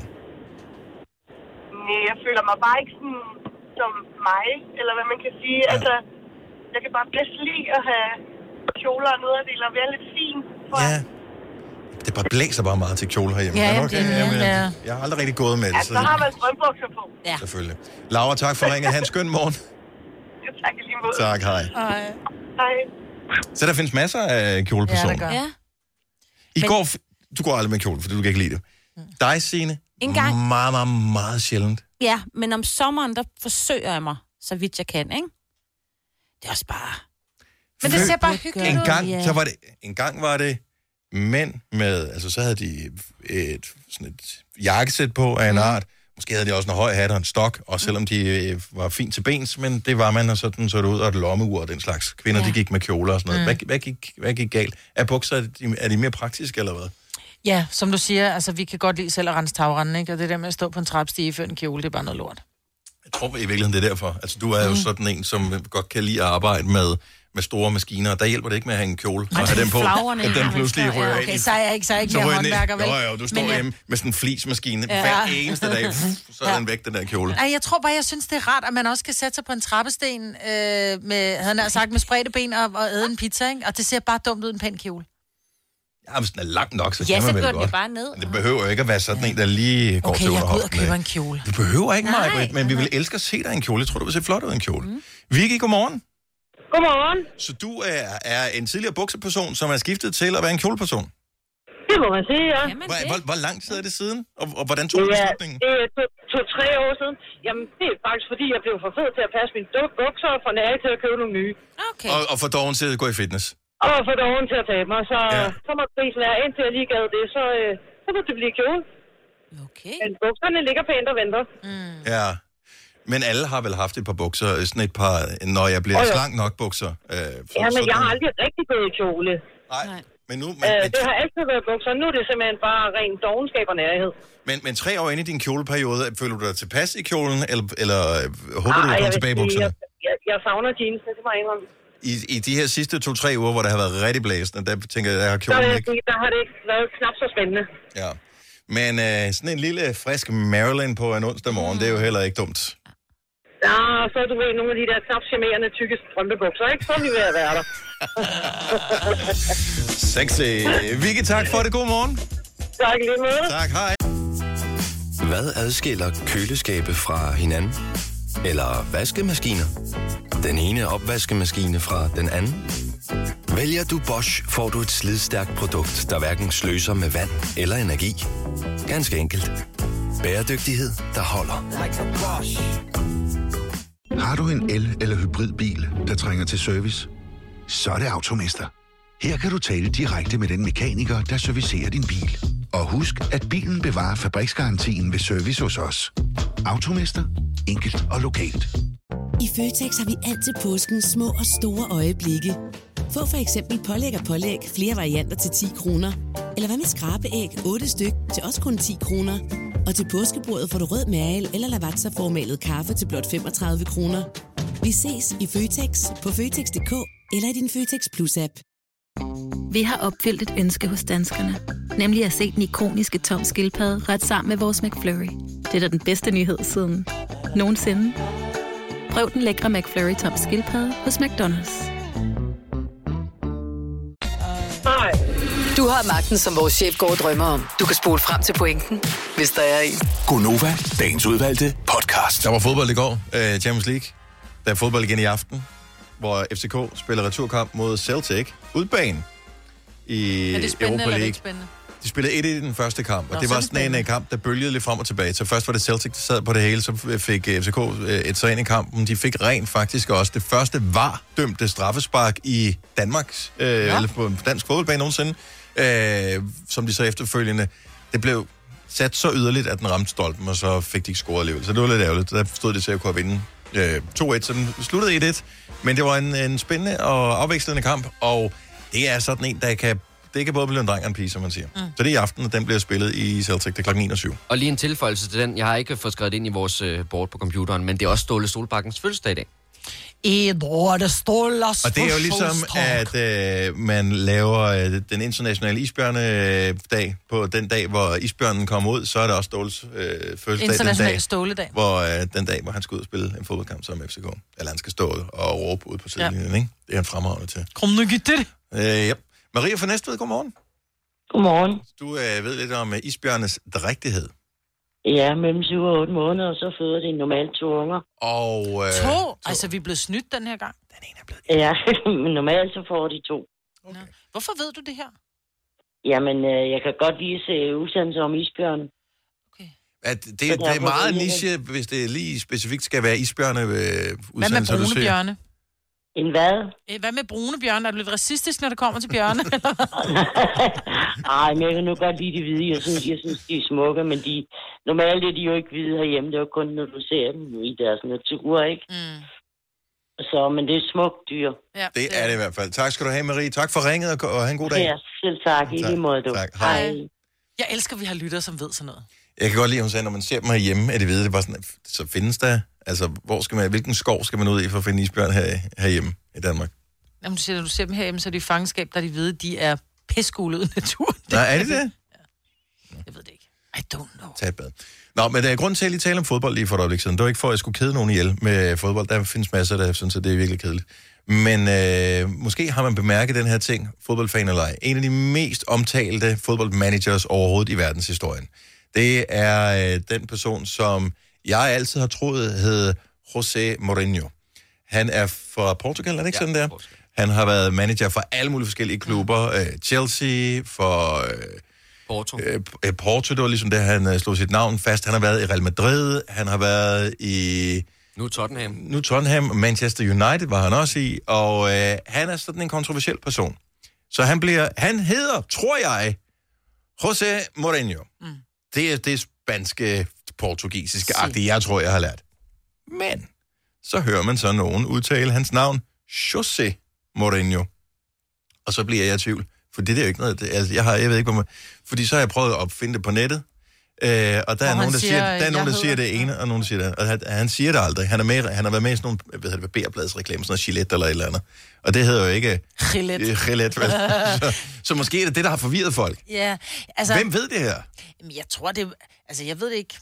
[SPEAKER 7] Nej, jeg føler mig bare ikke sådan som mig, eller hvad man kan sige. Ja. Altså, jeg kan bare bedst lide at have kjoler og nederdeler og være lidt fin. tror jeg.
[SPEAKER 1] Ja. Det bare blæser bare meget til kjole herhjemme.
[SPEAKER 2] Ja,
[SPEAKER 1] Men
[SPEAKER 2] ja, det-
[SPEAKER 1] jamen,
[SPEAKER 3] ja.
[SPEAKER 1] Jeg har aldrig rigtig gået med
[SPEAKER 7] Ja,
[SPEAKER 1] det,
[SPEAKER 7] så Altså, har
[SPEAKER 1] så
[SPEAKER 7] man strømbukser på.
[SPEAKER 2] Ja.
[SPEAKER 1] selvfølgelig. Laura, tak for ringet. Ha' en skøn morgen.
[SPEAKER 7] Ja, tak i lige måde.
[SPEAKER 1] Tak, hej.
[SPEAKER 3] Ej.
[SPEAKER 7] Hej.
[SPEAKER 1] Så der findes masser af kjolepersoner.
[SPEAKER 3] Ja, der
[SPEAKER 2] Ja.
[SPEAKER 1] I går, f- du går aldrig med kjole, fordi du kan ikke lide det.
[SPEAKER 3] Mm.
[SPEAKER 1] Dig, Signe,
[SPEAKER 2] En gang.
[SPEAKER 1] meget, meget, meget sjældent.
[SPEAKER 2] ja, men om sommeren, der forsøger jeg mig, så vidt jeg kan, ikke? Det er også bare...
[SPEAKER 3] Men det ser
[SPEAKER 2] Gør
[SPEAKER 3] bare
[SPEAKER 1] en
[SPEAKER 2] du?
[SPEAKER 3] hyggeligt ud.
[SPEAKER 1] gang,
[SPEAKER 2] Ja.
[SPEAKER 1] så var det, en gang var det mænd med, altså så havde de et, sådan et jakkesæt på
[SPEAKER 3] Mm.
[SPEAKER 1] af en art. Måske havde de også en høj hat og en stok, og selvom de øh, var fint til bens, men det var man, og sådan så det ud, og et lommeur og den slags. Kvinder, ja. de gik med kjoler og sådan noget. Mm. Hvad, hvad, gik, hvad gik galt? Er bukser, er de, er de mere praktiske eller hvad?
[SPEAKER 3] Ja, som du siger, altså, vi kan godt lide selv at rense tagrenden, ikke? Og det der med at stå på en trappestige før en kjole, det er bare noget lort.
[SPEAKER 1] tror i virkeligheden, det er derfor. Altså, du er jo sådan en, som godt kan lide at arbejde med, med store maskiner, og der hjælper det ikke med at have en kjole og have den på,
[SPEAKER 2] flagrene
[SPEAKER 1] at
[SPEAKER 2] har
[SPEAKER 1] den
[SPEAKER 2] man
[SPEAKER 1] pludselig
[SPEAKER 2] stadig.
[SPEAKER 1] rører
[SPEAKER 2] Ja,
[SPEAKER 1] ind i
[SPEAKER 3] Okay, så er jeg ikke, så er jeg ikke
[SPEAKER 1] Så
[SPEAKER 3] mere
[SPEAKER 1] rører den
[SPEAKER 3] håndværker,
[SPEAKER 1] ind.
[SPEAKER 3] vel?
[SPEAKER 1] Jo, jo, du står
[SPEAKER 3] Men jeg-
[SPEAKER 1] hjemme med sådan en flismaskine ja. hver eneste dag, så er den væk, den der kjole.
[SPEAKER 3] Ej, jeg tror bare, jeg synes, det er rart, at man også kan sætte sig på en trappesten øh, med, havde han sagt, med spredte ben og, og æde en pizza, ikke? Og det ser bare dumt ud i en pæn kjole.
[SPEAKER 1] Ja, hvis den er lang nok, så
[SPEAKER 2] Ja,
[SPEAKER 1] kan
[SPEAKER 2] så
[SPEAKER 1] man
[SPEAKER 2] går
[SPEAKER 1] vel
[SPEAKER 2] den jo
[SPEAKER 1] godt.
[SPEAKER 2] bare ned.
[SPEAKER 1] Men Det behøver jo ikke at være sådan en, der lige går
[SPEAKER 3] Okay,
[SPEAKER 1] til
[SPEAKER 3] jeg går ud og
[SPEAKER 1] underholdene.
[SPEAKER 3] køber en kjole.
[SPEAKER 1] Du behøver ikke
[SPEAKER 2] Nej,
[SPEAKER 1] meget, men vi vil elske at se dig i en kjole. Jeg tror, du vil se flot ud i en kjole. Mm. Vicky, godmorgen.
[SPEAKER 7] Godmorgen.
[SPEAKER 1] Så du er, er en tidligere bukseperson, som er skiftet til at være en kjoleperson.
[SPEAKER 7] Det må man sige, ja.
[SPEAKER 2] Jamen,
[SPEAKER 1] Hvor,
[SPEAKER 2] det.
[SPEAKER 1] hvor, hvor lang tid er det siden, og, og hvordan tog
[SPEAKER 7] Det
[SPEAKER 1] du
[SPEAKER 7] er,
[SPEAKER 1] beslutningen?
[SPEAKER 7] det er to- to-tre år siden. Jamen, det er faktisk fordi, jeg blev for fed til at passe mine duk- bukser og for nære til at købe nogle nye.
[SPEAKER 2] Okay. Mm.
[SPEAKER 1] Og, og for doven til at gå i fitness.
[SPEAKER 7] Og for doven til at tabe mig, så,
[SPEAKER 1] Ja.
[SPEAKER 7] ja. så må prisen være, indtil jeg lige gad det, så, øh, så må det blive kjole.
[SPEAKER 2] Okay.
[SPEAKER 7] Men bukserne ligger pænt og venter.
[SPEAKER 1] Ja. Men alle har vel haft et par bukser, øh, sådan et par, når jeg bliver
[SPEAKER 7] Åh, jo.
[SPEAKER 1] slank nok bukser. Øh, for
[SPEAKER 7] Ja, men
[SPEAKER 1] sådan
[SPEAKER 7] jeg har
[SPEAKER 1] nogle-
[SPEAKER 7] aldrig rigtig gået i kjole.
[SPEAKER 1] Nej,
[SPEAKER 2] Nej.
[SPEAKER 1] men nu... Men,
[SPEAKER 7] Øh,
[SPEAKER 1] men,
[SPEAKER 7] det har altid været bukser. Nu er det simpelthen bare ren dogenskab og nærhed.
[SPEAKER 1] men, men tre år inde i din kjoleperiode, føler du dig tilpas i kjolen, eller, eller øh, håber du,
[SPEAKER 7] Ej,
[SPEAKER 1] du kommer
[SPEAKER 7] vil
[SPEAKER 1] tilbage i
[SPEAKER 7] sige,
[SPEAKER 1] bukserne?
[SPEAKER 7] jeg, jeg, jeg savner jeansene, det må jeg indrømme.
[SPEAKER 1] I, I de her sidste to-tre uger, hvor det har været rigtig blæsende, der tænker jeg, der har
[SPEAKER 7] Der, vil
[SPEAKER 1] kjolen
[SPEAKER 7] jeg
[SPEAKER 1] ikke...
[SPEAKER 7] sige, øh, der har det ikke været knap så spændende.
[SPEAKER 1] Ja. Men øh, sådan en lille, frisk Maryland på en onsdag morgen, mm. det er jo heller ikke dumt.
[SPEAKER 7] Ja, og så du ved, nogle af de der knap charmerende, tykke strømpebukser, ikke? Så er vi ved at være der.
[SPEAKER 1] Sexy. Vicky, tak for det. God morgen.
[SPEAKER 7] Tak i lige måde.
[SPEAKER 1] Tak, hej.
[SPEAKER 8] Hvad adskiller køleskabe fra hinanden? Eller vaskemaskiner? Den ene opvaskemaskine fra den anden? Vælger du Bosch, får du et slidstærkt produkt, der hverken sløser med vand eller energi. Ganske enkelt. Bæredygtighed, der holder.
[SPEAKER 5] Har du en el- eller hybridbil, der trænger til service? Så er det Automester. Her kan du tale direkte med den mekaniker, der servicerer din bil. Og husk, at bilen bevarer fabriksgarantien ved service hos os. Automester. Enkelt og lokalt.
[SPEAKER 9] I Føtex har vi altid påsken små og store øjeblikke. Få for eksempel pålæg og pålæg flere varianter til 10 kroner. Eller hvad med skrabeæg 8 styk til også kun 10 kroner. Og til påskebordet får du rød mal eller lavatserformalet kaffe til blot 35 kroner. Vi ses i Føtex på Føtex.dk eller i din Føtex Plus-app.
[SPEAKER 10] Vi har opfyldt et ønske hos danskerne. Nemlig at se den ikoniske tom skildpadde ret sammen med vores McFlurry. Det er da den bedste nyhed siden nogensinde. Prøv den lækre McFlurry tom skildpadde hos McDonald's.
[SPEAKER 7] Nej.
[SPEAKER 4] Du har magten, som vores chef går og drømmer om. Du kan spole frem til pointen, hvis der er en.
[SPEAKER 5] Gonova. Dagens udvalgte podcast.
[SPEAKER 1] Der var fodbold i går, øh, Champions League. Der er fodbold igen i aften, hvor FCK spiller returkamp mod Celtic. Udbane i
[SPEAKER 3] Er det spændende
[SPEAKER 1] Europa
[SPEAKER 3] eller er det
[SPEAKER 1] League.
[SPEAKER 3] ikke spændende?
[SPEAKER 1] De spillede 1 i den første kamp, og Nå,
[SPEAKER 3] Nå,
[SPEAKER 1] det
[SPEAKER 3] så
[SPEAKER 1] var
[SPEAKER 3] er det
[SPEAKER 1] sådan en
[SPEAKER 3] spændende.
[SPEAKER 1] øh, kamp, der bølgede lidt frem og tilbage. Så først var det Celtic, der sad på det hele, så fik øh, FCK øh, et så ind i kampen. De fik rent faktisk også det første var dømte straffespark i Danmarks, øh, ja. eller på en dansk fodboldbane nogensinde, øh, som de så efterfølgende, det blev sat så yderligt, at den ramte stolpen, og så fik de ikke scoret alligevel. Så det var lidt ærgerligt. Der stod det til at kunne vinde øh, 2-1, så den sluttede 1-1. Men det var en, en spændende og afvekslende kamp, og det er sådan en, der kan det kan både blive en dreng og en pige, som man siger. Mm. Så det er i aften, og den bliver spillet i Celtic. Det er klokken 21.
[SPEAKER 11] Og lige en tilføjelse til den. Jeg har ikke fået skrevet ind i vores øh, board på computeren, men det er også Ståle Solbakkens fødselsdag i dag.
[SPEAKER 3] Edward Stolas
[SPEAKER 1] Og det er jo ligesom, at øh, man laver øh, den internationale isbjørnedag. På den dag, hvor isbjørnen kommer ud, så er det også Ståles øh, fødselsdag den dag,
[SPEAKER 3] International ståledag.
[SPEAKER 1] hvor, øh, den dag, hvor han skal ud og spille en fodboldkamp sammen med FCK. Eller han skal stå og råbe ud på sidelinjen, ja. ikke? Det er han fremragende til.
[SPEAKER 3] Kom nu, giv det.
[SPEAKER 1] Øh, yep. Maria fra Næstved, godmorgen.
[SPEAKER 7] Godmorgen.
[SPEAKER 1] Du øh, ved lidt om øh, isbjørnes drægtighed.
[SPEAKER 7] Ja, mellem 7 og 8 måneder, og så føder de normalt to unger.
[SPEAKER 1] Og, øh,
[SPEAKER 3] To. Altså, vi er blevet snydt den her gang.
[SPEAKER 1] Den ene er blevet...
[SPEAKER 7] Ja, men normalt så får de to.
[SPEAKER 3] Okay. Hvorfor ved du det her?
[SPEAKER 7] Jamen, øh, jeg kan godt vise øh, udsendelser om isbjørn.
[SPEAKER 1] At det,
[SPEAKER 7] derfor
[SPEAKER 1] det er meget
[SPEAKER 7] ved jeg
[SPEAKER 1] niche, hvis det lige specifikt skal være isbjørne øh,
[SPEAKER 3] Hvad med
[SPEAKER 1] udsendelser, du
[SPEAKER 3] brune
[SPEAKER 1] ser.
[SPEAKER 3] bjørne?
[SPEAKER 7] En hvad?
[SPEAKER 3] Øh, Hvad med brune bjørne? Er du lidt racistisk, når det kommer til bjørne?
[SPEAKER 7] Ej, men jeg kan nu godt lide de hvide. Jeg synes, jeg synes de er smukke, men de, normalt er de jo ikke hvide herhjemme. Det er jo kun, når du ser dem i deres natur, ikke?
[SPEAKER 3] mm.
[SPEAKER 7] Så, men det er et smukt dyr.
[SPEAKER 3] ja,
[SPEAKER 1] Det er det i hvert fald. Tak skal du have, Marie. Tak for ringet, og, og have en god dag.
[SPEAKER 7] Ja, selv tak. I
[SPEAKER 1] Tak.
[SPEAKER 7] lige måde, du.
[SPEAKER 1] Tak. Hej.
[SPEAKER 3] Jeg elsker, at vi har lyttere, som ved sådan noget.
[SPEAKER 1] Jeg kan godt lide, hun sagde, når man ser dem herhjemme, er det ved, det er bare sådan, så findes der Altså, hvor skal man, hvilken skov skal man ud i for at finde isbjørn her, herhjemme i Danmark?
[SPEAKER 3] Jamen, du siger, når du ser dem herhjemme, så er de i fangenskab, der de ved, de er pissegule ud i naturen.
[SPEAKER 1] Nå, er det det?
[SPEAKER 3] Jeg ved det ikke. I don't know.
[SPEAKER 1] Tag et bad. Nå, men der er grund til, at jeg lige taler om fodbold lige for et øjeblik siden. Det var ikke for, at jeg skulle kede nogen ihjel med fodbold. Der findes masser, der synes, at det er virkelig kedeligt. Men øh, måske har man bemærket den her ting, fodboldfan eller ej. En af de mest omtalte fodboldmanagers overhovedet i verdenshistorien. Det er øh, den person, som jeg altid har troet hed José Mourinho. Han er fra Portugal, er det ikke ja, sådan der? Portugal. Han har været manager for alle mulige forskellige klubber. Øh, Chelsea, for... Øh,
[SPEAKER 11] Porto.
[SPEAKER 1] Øh, øh, Porto, det var ligesom det, han øh, slog sit navn fast. Han har været i Real Madrid, han har været i...
[SPEAKER 11] Nu Tottenham.
[SPEAKER 1] Nu Tottenham, Manchester United var han også i, og øh, han er sådan en kontroversiel person. Så han bliver... Han hedder, tror jeg, José Mourinho. Mm. Det er det er spanske, portugisiske agtige, jeg tror, jeg har lært. Men så hører man så nogen udtale hans navn, José Mourinho. Og så bliver jeg i tvivl, for det der er jo ikke noget, det, altså, jeg, har, jeg ved ikke, hvor man, fordi så har jeg prøvet at opfinde det på nettet, øh, og der er
[SPEAKER 12] han
[SPEAKER 1] nogen, der siger,
[SPEAKER 12] siger,
[SPEAKER 1] der, er
[SPEAKER 12] jeg
[SPEAKER 1] nogen, der
[SPEAKER 12] hedder-
[SPEAKER 1] siger det ene, og nogen, der siger det andet. Og han, han siger det aldrig. Han, er med, han har været med i sådan nogle, hvad hedder det, barberbladsreklamer, sådan noget Gillette eller et eller andet. Og det hedder jo ikke...
[SPEAKER 3] Gillette.
[SPEAKER 1] Øh, Gillette, vel? så, så måske er det det, der har forvirret folk.
[SPEAKER 3] Ja,
[SPEAKER 1] Altså,
[SPEAKER 3] altså...
[SPEAKER 1] Hvem ved det her?
[SPEAKER 3] Jamen, Jeg tror det... Altså, jeg ved det ikke.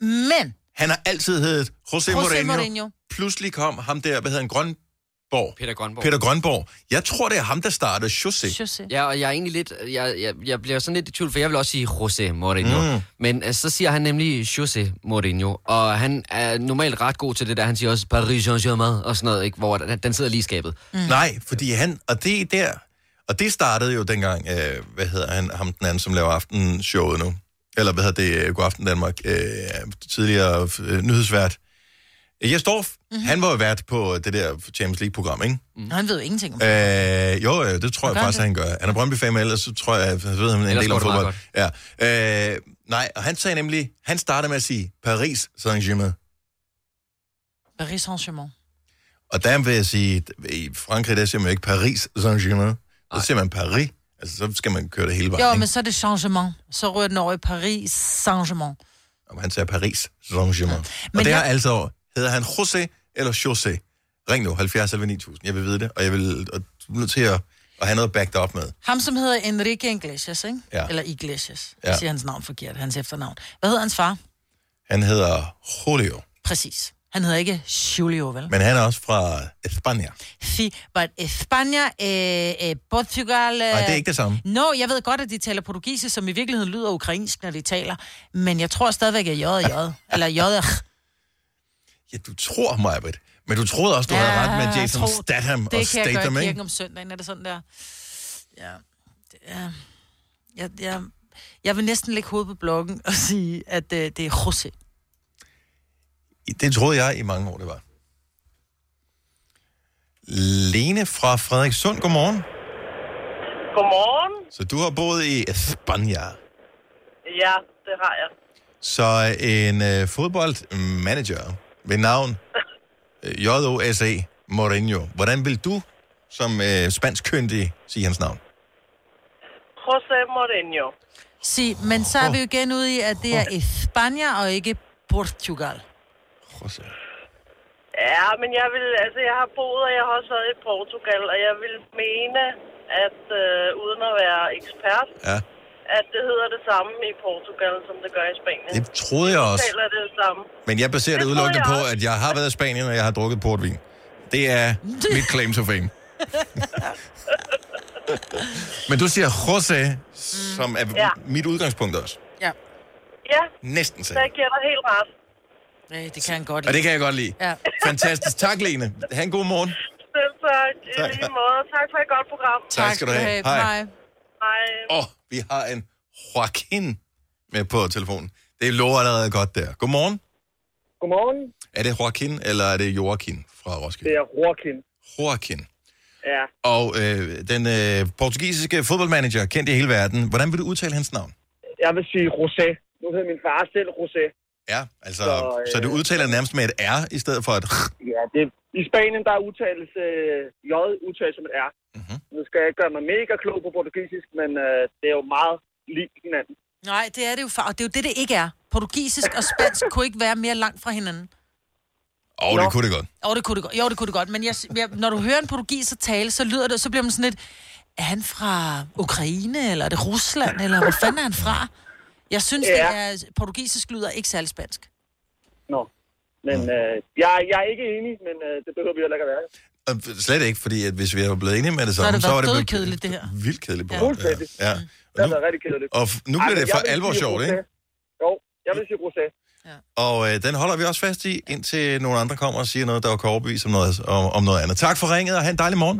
[SPEAKER 3] Men...
[SPEAKER 1] Han har altid heddet José,
[SPEAKER 3] José
[SPEAKER 1] Mourinho.
[SPEAKER 3] Mourinho.
[SPEAKER 1] Pludselig kom ham der, hvad hedder han, Grønborg?
[SPEAKER 11] Peter Grønborg.
[SPEAKER 1] Peter Grønborg. Jeg tror, det er ham, der startede José.
[SPEAKER 11] Ja, og jeg er egentlig lidt, jeg, jeg, jeg bliver sådan lidt i tvivl, for jeg vil også sige José Mourinho.
[SPEAKER 1] Mm.
[SPEAKER 11] Mm. Men øh, så siger han nemlig José Mourinho, og han er normalt ret god til det der, han siger også Paris Saint-Germain og sådan noget, ikke? hvor den, den sidder lige i skabet.
[SPEAKER 1] Mm. Nej, fordi han, og det er der, og det startede jo dengang, øh, hvad hedder han, ham den anden, som laver aftenshowet nu, eller hvad hedder det, øh, Godaften Danmark, øh, tidligere øh, nyhedsvært. Jes Dorf,
[SPEAKER 3] Mhm.
[SPEAKER 1] mm-hmm. han var jo vært på det der Champions League-program, ikke?
[SPEAKER 3] Mm. Han ved jo ingenting om
[SPEAKER 1] Øh, jo, øh, det tror jeg
[SPEAKER 3] Gør han
[SPEAKER 1] faktisk,
[SPEAKER 3] det?
[SPEAKER 1] han gør. Han er Brøndby-fan, men ellers så tror jeg, jeg ved han en
[SPEAKER 11] Ellers
[SPEAKER 1] del
[SPEAKER 11] går
[SPEAKER 1] om
[SPEAKER 11] det meget
[SPEAKER 1] fodbold. Ja. Øh, nej, og han sagde nemlig, han startede med at sige Paris Saint-Germain.
[SPEAKER 3] Paris Saint-Germain.
[SPEAKER 1] Og der vil jeg sige, i Frankrig, der siger man jo ikke Paris Saint-Germain. Der siger man Paris. Altså, så skal man køre det hele vejen.
[SPEAKER 3] Jo,
[SPEAKER 1] ikke?
[SPEAKER 3] men så er det changement. Så rører den over i Paris Saint-Germain.
[SPEAKER 1] Om han sagde Paris Saint-Germain. Og
[SPEAKER 3] Men
[SPEAKER 1] det er
[SPEAKER 3] jeg-
[SPEAKER 1] altså, hedder han José eller José? Ring nu, 70 11 9000. Jeg vil vide det, og jeg vil og du er nødt til at, at have noget at back det op med.
[SPEAKER 3] Ham, som hedder Enrique Iglesias, ikke?
[SPEAKER 1] Ja.
[SPEAKER 3] Eller Iglesias.
[SPEAKER 1] Ja.
[SPEAKER 3] Jeg siger hans navn forkert, hans efternavn. Hvad hedder hans far?
[SPEAKER 1] Han hedder Julio,
[SPEAKER 3] Præcis. Han hedder ikke Julio, vel?
[SPEAKER 1] men han er også fra Spanien.
[SPEAKER 3] Sí, but España, eh, eh, Portugal... Eh...
[SPEAKER 1] Nej, det er ikke det samme.
[SPEAKER 3] No, jeg ved godt, at de taler portugisisk, som i virkeligheden lyder ukrainsk, når de taler. Men jeg tror stadigvæk, at jeg er j Eller j
[SPEAKER 1] Ja, du tror mig, Britt. Men du troede også, du havde ret med Jason Statham
[SPEAKER 3] det
[SPEAKER 1] og
[SPEAKER 3] Det kan jeg
[SPEAKER 1] Statham,
[SPEAKER 3] gøre i kirken
[SPEAKER 1] ikke?
[SPEAKER 3] om søndagen, er det sådan der. Ja, det er... Jeg, jeg, jeg vil næsten lægge hovedet på blokken og sige, at øh, det er José.
[SPEAKER 1] Det troede jeg i mange år, det var. Lene fra Frederikssund, godmorgen.
[SPEAKER 13] Godmorgen.
[SPEAKER 1] Så du har boet i Spanien.
[SPEAKER 13] Ja, det har jeg.
[SPEAKER 1] Så en øh, fodboldmanager ved navn øh, J.O.S.A. Mourinho. Hvordan vil du som øh, spansk køndig sige hans navn?
[SPEAKER 13] José Mourinho.
[SPEAKER 3] Sig, men så er vi jo igen ude i, at det er España og ikke Portugal.
[SPEAKER 13] Ja, men jeg vil, altså jeg har boet, og jeg har også været i Portugal, og jeg vil mene, at øh, uden at være ekspert,
[SPEAKER 1] Ja.
[SPEAKER 13] at det hedder det samme i Portugal, som det gør i Spanien.
[SPEAKER 1] Det troede jeg også.
[SPEAKER 13] Det taler det samme.
[SPEAKER 1] Men jeg baserer det,
[SPEAKER 13] Det
[SPEAKER 1] det
[SPEAKER 13] troede
[SPEAKER 1] udelukkende
[SPEAKER 13] jeg
[SPEAKER 1] på,
[SPEAKER 13] også.
[SPEAKER 1] at jeg har været i Spanien, og jeg har drukket portvin. Det er mit claim to fame. Men du siger José, som er
[SPEAKER 13] Ja.
[SPEAKER 1] ja. mit udgangspunkt også.
[SPEAKER 3] Ja.
[SPEAKER 13] Ja,
[SPEAKER 1] Næsten
[SPEAKER 13] så
[SPEAKER 1] selv.
[SPEAKER 13] jeg giver dig helt ret.
[SPEAKER 3] Nej, det kan han godt
[SPEAKER 1] Og det kan jeg godt lide.
[SPEAKER 3] Ja.
[SPEAKER 1] Fantastisk. Tak, Lene. Ha' en god morgen.
[SPEAKER 13] Selv tak. I
[SPEAKER 1] Tak.
[SPEAKER 13] lige måde. Tak for et godt program.
[SPEAKER 1] Tak skal du have. Hej. Hej.
[SPEAKER 13] Hej.
[SPEAKER 1] Åh, oh, vi har en Joaquin med på telefonen. Det lover allerede godt der. Godmorgen.
[SPEAKER 14] Godmorgen.
[SPEAKER 1] Er det Joaquin, eller er det Joaquin fra Roskilde?
[SPEAKER 14] Det er Joaquin.
[SPEAKER 1] Joaquin.
[SPEAKER 14] Ja.
[SPEAKER 1] Og øh, den øh, portugisiske fodboldmanager, kendt i hele verden. Hvordan vil du udtale hans navn?
[SPEAKER 14] Jeg vil sige Rosé. Nu hedder min far selv Rosé.
[SPEAKER 1] Ja, altså,
[SPEAKER 14] Så,
[SPEAKER 1] så,
[SPEAKER 14] øh,
[SPEAKER 1] øh... så du udtaler nærmest med et R i stedet for et R.
[SPEAKER 14] Ja, det, i Spanien, der er udtales øh, J udtales som et R.
[SPEAKER 1] Mhm.
[SPEAKER 14] Mm-hmm. Nu skal jeg ikke gøre mig mega klog på portugisisk, men øh, det er jo meget lige hinanden.
[SPEAKER 3] Nej, det er det jo, far. Og det er jo det, det ikke er. Portugisisk og spansk kunne ikke være mere langt fra hinanden.
[SPEAKER 1] Åh, oh, det kunne det godt.
[SPEAKER 3] Jo, det kunne det godt. Jo, det kunne det godt. Men jeg, jeg, når du hører en portugiser tale, så lyder det, så bliver man sådan lidt, er han fra Ukraine, eller er det Rusland, eller hvor fanden er han fra? Jeg synes, ja. det
[SPEAKER 14] Ja.
[SPEAKER 3] er portugisisk lyder ikke særlig spansk.
[SPEAKER 14] Nå. Men
[SPEAKER 1] Mhm.
[SPEAKER 14] øh, jeg, jeg er ikke enig, men øh, det behøver vi heller ikke at være.
[SPEAKER 1] Og Øh, Slet ikke, fordi at hvis vi var blevet enige med det
[SPEAKER 14] Så har
[SPEAKER 1] samme,
[SPEAKER 14] det
[SPEAKER 1] så var
[SPEAKER 14] været
[SPEAKER 1] det blevet
[SPEAKER 14] dødkedeligt, det her.
[SPEAKER 1] vildt kedeligt.
[SPEAKER 14] Ja.
[SPEAKER 1] program.
[SPEAKER 14] Fuldstændig.
[SPEAKER 1] Ja. ja.
[SPEAKER 14] Det har været rigtig kedeligt.
[SPEAKER 1] Og f- nu bliver
[SPEAKER 14] men
[SPEAKER 1] det for
[SPEAKER 14] jeg vil
[SPEAKER 1] alvor
[SPEAKER 14] sige
[SPEAKER 1] sjovt,
[SPEAKER 14] rosé.
[SPEAKER 1] ikke?
[SPEAKER 14] Jo, jeg vil sige rosé.
[SPEAKER 1] Og øh, den holder vi også fast i, indtil nogle andre kommer og siger noget, der kan overbevise om noget, om, om noget andet. Tak for ringet, og have en dejlig morgen.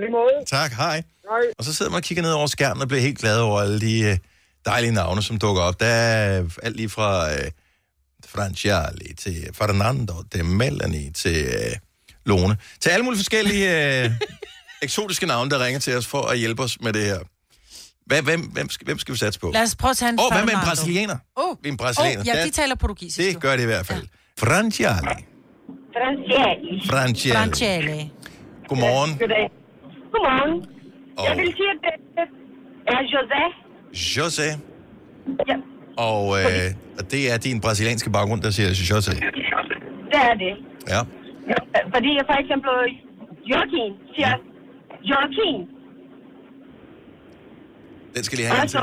[SPEAKER 14] Lige måde.
[SPEAKER 1] Tak, hej.
[SPEAKER 14] Hej.
[SPEAKER 1] Og så sidder man og kigger ned over skærmen og bliver helt glad over alle de øh, dejlige navne, som dukker op. Der er øh, alt lige fra øh, Franciali til Fernando, til Melanie, til øh, Lone. Til alle mulige forskellige øh, eksotiske navne, der ringer til os for at hjælpe os med det her. Hvad, hvem, hvem, skal, hvem skal vi satse på?
[SPEAKER 3] Lad os prøve at tage en
[SPEAKER 1] Åh, hvad med en
[SPEAKER 3] Fernando.
[SPEAKER 1] brasilianer?
[SPEAKER 3] Åh,
[SPEAKER 1] En brasilianer.
[SPEAKER 3] Åh, ja,
[SPEAKER 1] Der-
[SPEAKER 3] de taler portugisisk.
[SPEAKER 1] Det gør det i hvert fald. Franciali.
[SPEAKER 7] Franciali.
[SPEAKER 1] Franciali. Godmorgen.
[SPEAKER 7] Goddag. Godmorgen. Oh. Jeg vil sige, at det er José.
[SPEAKER 1] José. Ja. Og, øh, og det er din brasilianske baggrund, der siger José.
[SPEAKER 7] Det er det.
[SPEAKER 1] Ja.
[SPEAKER 7] Fordi jeg for eksempel øh, Joaquin siger Joaquin. Altså,
[SPEAKER 1] Den skal lige have en til.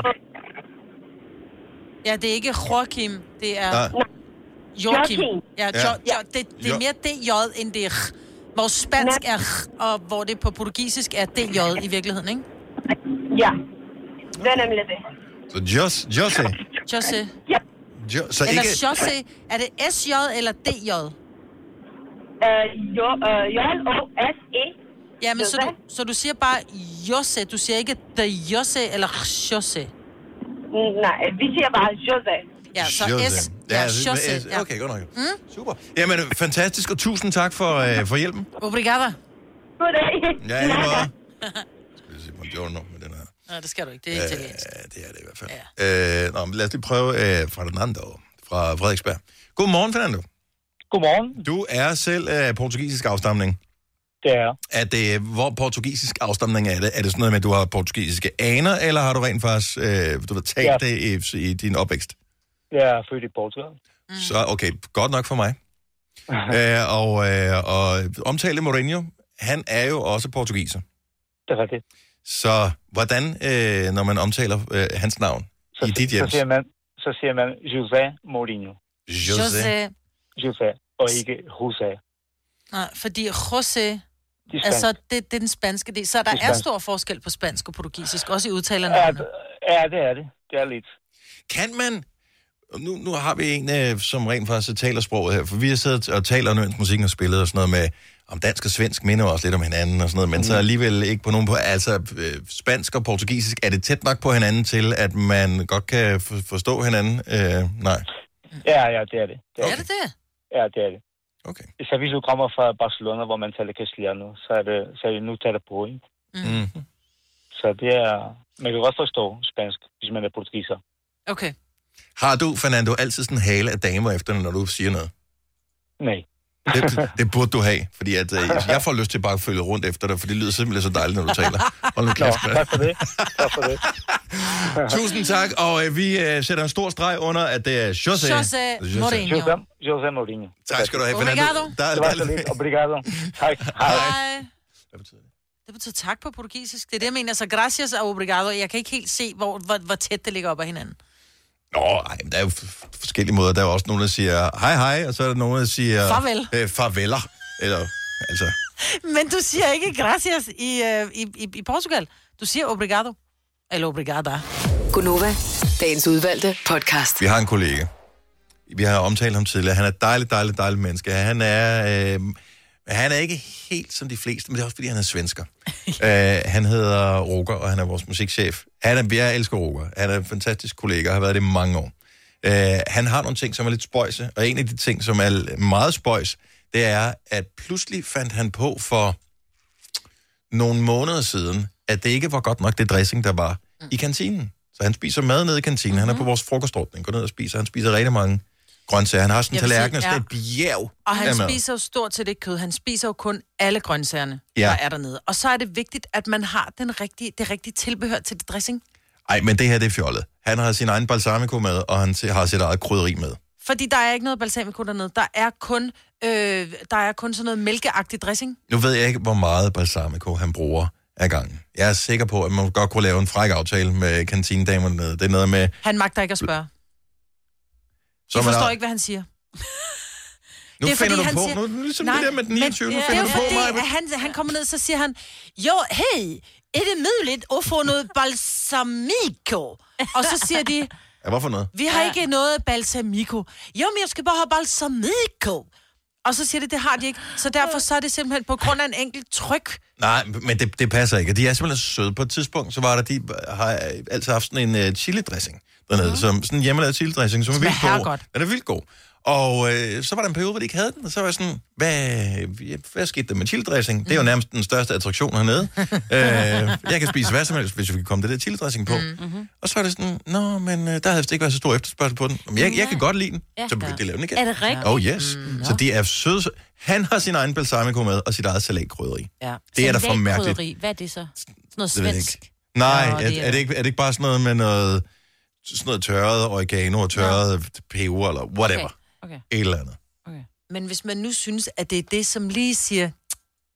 [SPEAKER 3] Ja, det er ikke Joachim, det er
[SPEAKER 1] Nej.
[SPEAKER 3] Joachim.
[SPEAKER 1] Joachim.
[SPEAKER 3] Ja, jo,
[SPEAKER 1] Ja.
[SPEAKER 3] jo, det, det er
[SPEAKER 1] Jo.
[SPEAKER 3] mere DJ end det er R. Hvor spansk er R, og hvor det på portugisisk er DJ i virkeligheden, ikke?
[SPEAKER 7] Ja, det er nemlig det.
[SPEAKER 1] Så Jos, José.
[SPEAKER 3] Jose.
[SPEAKER 1] Jo, så
[SPEAKER 3] eller
[SPEAKER 1] ikke...
[SPEAKER 3] Jose. Er det SJ eller DJ?
[SPEAKER 7] Øh, jo, øh, J-O-S-E.
[SPEAKER 3] Ja, men så du, så du siger bare Jose. Du siger ikke The Jose eller Jose.
[SPEAKER 7] Nej, vi siger bare Jose.
[SPEAKER 3] Ja, så
[SPEAKER 1] José.
[SPEAKER 3] S.
[SPEAKER 1] Ja,
[SPEAKER 3] Ja,
[SPEAKER 1] altså, med S.
[SPEAKER 3] Jose. Ja.
[SPEAKER 1] Okay, godt nok.
[SPEAKER 3] Mm?
[SPEAKER 1] Super. Jamen, fantastisk, og tusind tak for, øh, for hjælpen.
[SPEAKER 3] Obrigada.
[SPEAKER 7] Goddag.
[SPEAKER 1] Ja, i lige måde. Buongiorno med den her.
[SPEAKER 3] Nej, det skal du ikke. Det er italiensk.
[SPEAKER 1] Ja, det er det i hvert fald. Ja. Øh, nå, men lad os lige prøve øh, Fernando fra Frederiksberg. Godmorgen, Fernando.
[SPEAKER 12] Godmorgen.
[SPEAKER 1] Du er selv øh, portugisisk afstamning.
[SPEAKER 12] Det er
[SPEAKER 1] Er det, hvor portugisisk afstamning er det? Er det sådan noget med, at du har portugisiske aner, eller har du rent faktisk øh, du har talt ja.
[SPEAKER 12] Ja.
[SPEAKER 1] det i, i din opvækst?
[SPEAKER 12] Jeg er født i Portugal.
[SPEAKER 1] Mm. Så okay, godt nok for mig. Æ, og, øh, og omtale Mourinho, han er jo også portugiser.
[SPEAKER 12] Det er rigtigt.
[SPEAKER 1] Så hvordan, øh, når man omtaler øh, hans navn så, i dit hjem?
[SPEAKER 12] Så siger man, så siger man José Mourinho.
[SPEAKER 1] José.
[SPEAKER 12] José, og ikke José.
[SPEAKER 3] Nej, fordi Jose...
[SPEAKER 12] spansk.
[SPEAKER 3] Altså, det, det er den spanske del. Så der
[SPEAKER 12] Det er
[SPEAKER 3] er
[SPEAKER 12] spansk.
[SPEAKER 3] stor forskel på spansk og portugisisk, også i udtalerne.
[SPEAKER 12] Ja, ja, det er det. Det er lidt.
[SPEAKER 1] Kan man... Nu, nu har vi en, øh, som rent faktisk taler sproget her, for vi har siddet og talt om Nørens musik og spillet og sådan noget med, om dansk og svensk minder også lidt om hinanden og sådan noget, men mm. så alligevel ikke på nogen på... Altså, øh, spansk og portugisisk, er det tæt nok på hinanden til, at man godt kan for, forstå hinanden? Øh, nej.
[SPEAKER 12] Ja, ja, det er det. det
[SPEAKER 3] Er det det?
[SPEAKER 12] Ja, det er det.
[SPEAKER 1] Okay.
[SPEAKER 12] Så hvis du kommer fra Barcelona, hvor man taler castellano, så er det, så er det nu taler på, ikke?
[SPEAKER 1] Mm.
[SPEAKER 12] Så det er... Man kan godt forstå spansk, hvis man er portugiser.
[SPEAKER 3] Okay.
[SPEAKER 1] Har du, Fernando, altid sådan en hale af damer efter, når du siger noget?
[SPEAKER 12] Nej.
[SPEAKER 1] Det, det burde du have, fordi at, øh, jeg får lyst til bare at følge rundt efter dig, for det lyder simpelthen så dejligt, når du taler. Hold nu kæft, mand.
[SPEAKER 12] tak for det. Tak for det.
[SPEAKER 1] Tusind tak, og øh, vi øh, sætter en stor streg under, at det er José.
[SPEAKER 12] José Mourinho. José- José Mourinho.
[SPEAKER 1] Tak skal du have, Fernando.
[SPEAKER 3] Obrigado.
[SPEAKER 1] Der er,
[SPEAKER 12] Det var så lidt. Obrigado. Tak. Hej.
[SPEAKER 3] Hej.
[SPEAKER 1] Hvad betyder det?
[SPEAKER 3] Det betyder tak på portugisisk. Det er det, jeg mener. Så gracias og obrigado. Jeg kan ikke helt se, hvor, hvor, hvor tæt det ligger op ad hinanden.
[SPEAKER 1] Nå, ej, men der er jo f- forskellige måder. Der er jo også nogen, der siger hej hej, og så er der nogen, der siger...
[SPEAKER 3] Farvel.
[SPEAKER 1] Øh, farveler. Eller, altså...
[SPEAKER 3] Men du siger ikke gracias i, øh, i, i, i Portugal. Du siger obrigado. Eller obrigada.
[SPEAKER 4] Gunova, dagens udvalgte podcast.
[SPEAKER 1] Vi har en kollega. Vi har omtalt ham tidligere. Han er et dejligt, dejligt, dejligt menneske. Han er, øh, han er ikke helt som de fleste, men det er også, fordi han er svensker. øh, han hedder Roger, og han er vores musikchef. Han er, jeg elsker Roger. Han er en fantastisk kollega, og har været det i mange år. Øh, han har nogle ting, som er lidt spøjse, og en af de ting, som er l- meget spøjs, det er, at pludselig fandt han på for nogle måneder siden, at det ikke var godt nok det dressing, der var i kantinen. Så han spiser mad nede i kantinen.
[SPEAKER 3] Mhm.
[SPEAKER 1] Han er på vores frokostordning. Går ned og spiser. Han spiser rigtig mange grøntsager. Han har sådan en
[SPEAKER 3] Jeg vil sige,
[SPEAKER 1] tallerken og sådan
[SPEAKER 3] ja.
[SPEAKER 1] et bjerg
[SPEAKER 3] Og han
[SPEAKER 1] af mad.
[SPEAKER 3] spiser jo stort set ikke kød. Han spiser jo kun alle grøntsagerne,
[SPEAKER 1] Ja.
[SPEAKER 3] ja. der er dernede. Og så er det vigtigt, at man har den rigtige, det rigtige tilbehør til det dressing.
[SPEAKER 1] Ej, men det her, det er fjollet. Han har sin egen balsamico med, og han t- har sit eget krydderi med.
[SPEAKER 3] Fordi der er ikke noget balsamico dernede. Der er kun, øh, der er kun sådan noget mælkeagtig dressing.
[SPEAKER 1] Nu ved jeg ikke, hvor meget balsamico han bruger ad gangen. Jeg er sikker på, at man godt kunne lave en fræk aftale med kantinedamerne nede. Det er noget med...
[SPEAKER 3] Han magter ikke at spørge.
[SPEAKER 1] Så man
[SPEAKER 3] Jeg forstår
[SPEAKER 1] har-
[SPEAKER 3] ikke, hvad han siger.
[SPEAKER 1] Nu finder du på. Nu er det ligesom det der med den 29. Nu
[SPEAKER 3] det
[SPEAKER 1] finder
[SPEAKER 3] er
[SPEAKER 1] du
[SPEAKER 3] jo
[SPEAKER 1] på,
[SPEAKER 3] fordi,
[SPEAKER 1] Maja.
[SPEAKER 3] at han, han kommer ned, så siger han, jo, hey, er det muligt at få noget balsamico? Og så siger de,
[SPEAKER 1] Ja, hvorfor noget?
[SPEAKER 3] vi har ikke noget balsamico. Jo, men jeg skal bare have balsamico. Og så siger det, det har de ikke. Så derfor så er det simpelthen på grund af en enkelt tryk.
[SPEAKER 1] Nej, men det, det passer ikke. Og De er simpelthen søde. På et tidspunkt, så var der, de har øh, altid haft sådan en uh, chili-dressing dernede, mm. som, sådan en hjemmelavet chili-dressing, som er vildt
[SPEAKER 3] smager
[SPEAKER 1] god.
[SPEAKER 3] godt.
[SPEAKER 1] Den er vildt god. Og øh, så var der en periode, hvor de ikke havde den, og så var jeg sådan, hvad, hvad skete der med chili-dressing?
[SPEAKER 2] Mm.
[SPEAKER 1] Det er jo nærmest den største attraktion hernede. øh, jeg kan spise hvad som helst, hvis vi kan komme det der chili-dressing på.
[SPEAKER 2] Mm,
[SPEAKER 1] Mm-hmm. Og så er det sådan, nå, men øh, der havde vist ikke været så stor efterspørgsel på den. Men jeg, jeg kan godt lide den.
[SPEAKER 2] Ja.
[SPEAKER 1] Så begyndte de at lave den igen.
[SPEAKER 2] Er det rigtigt?
[SPEAKER 1] Oh yes. Mm, så de er søde. Han har sin egen balsamico med, og sit eget salatkrydderi.
[SPEAKER 2] Ja.
[SPEAKER 1] Det er da for
[SPEAKER 2] Salatkryderi.
[SPEAKER 1] mærkeligt.
[SPEAKER 2] Hvad er det så? Sådan noget
[SPEAKER 1] Det ved jeg
[SPEAKER 2] svensk?
[SPEAKER 1] ikke. Nej,
[SPEAKER 2] Nå,
[SPEAKER 1] er,
[SPEAKER 2] det er-
[SPEAKER 1] er, det ikke, er det ikke bare sådan noget med noget, sådan noget tørret oregano og tørret peber eller whatever? Okay.
[SPEAKER 3] Okay.
[SPEAKER 1] Et eller andet.
[SPEAKER 3] Men hvis man nu synes, at det er det, som lige siger,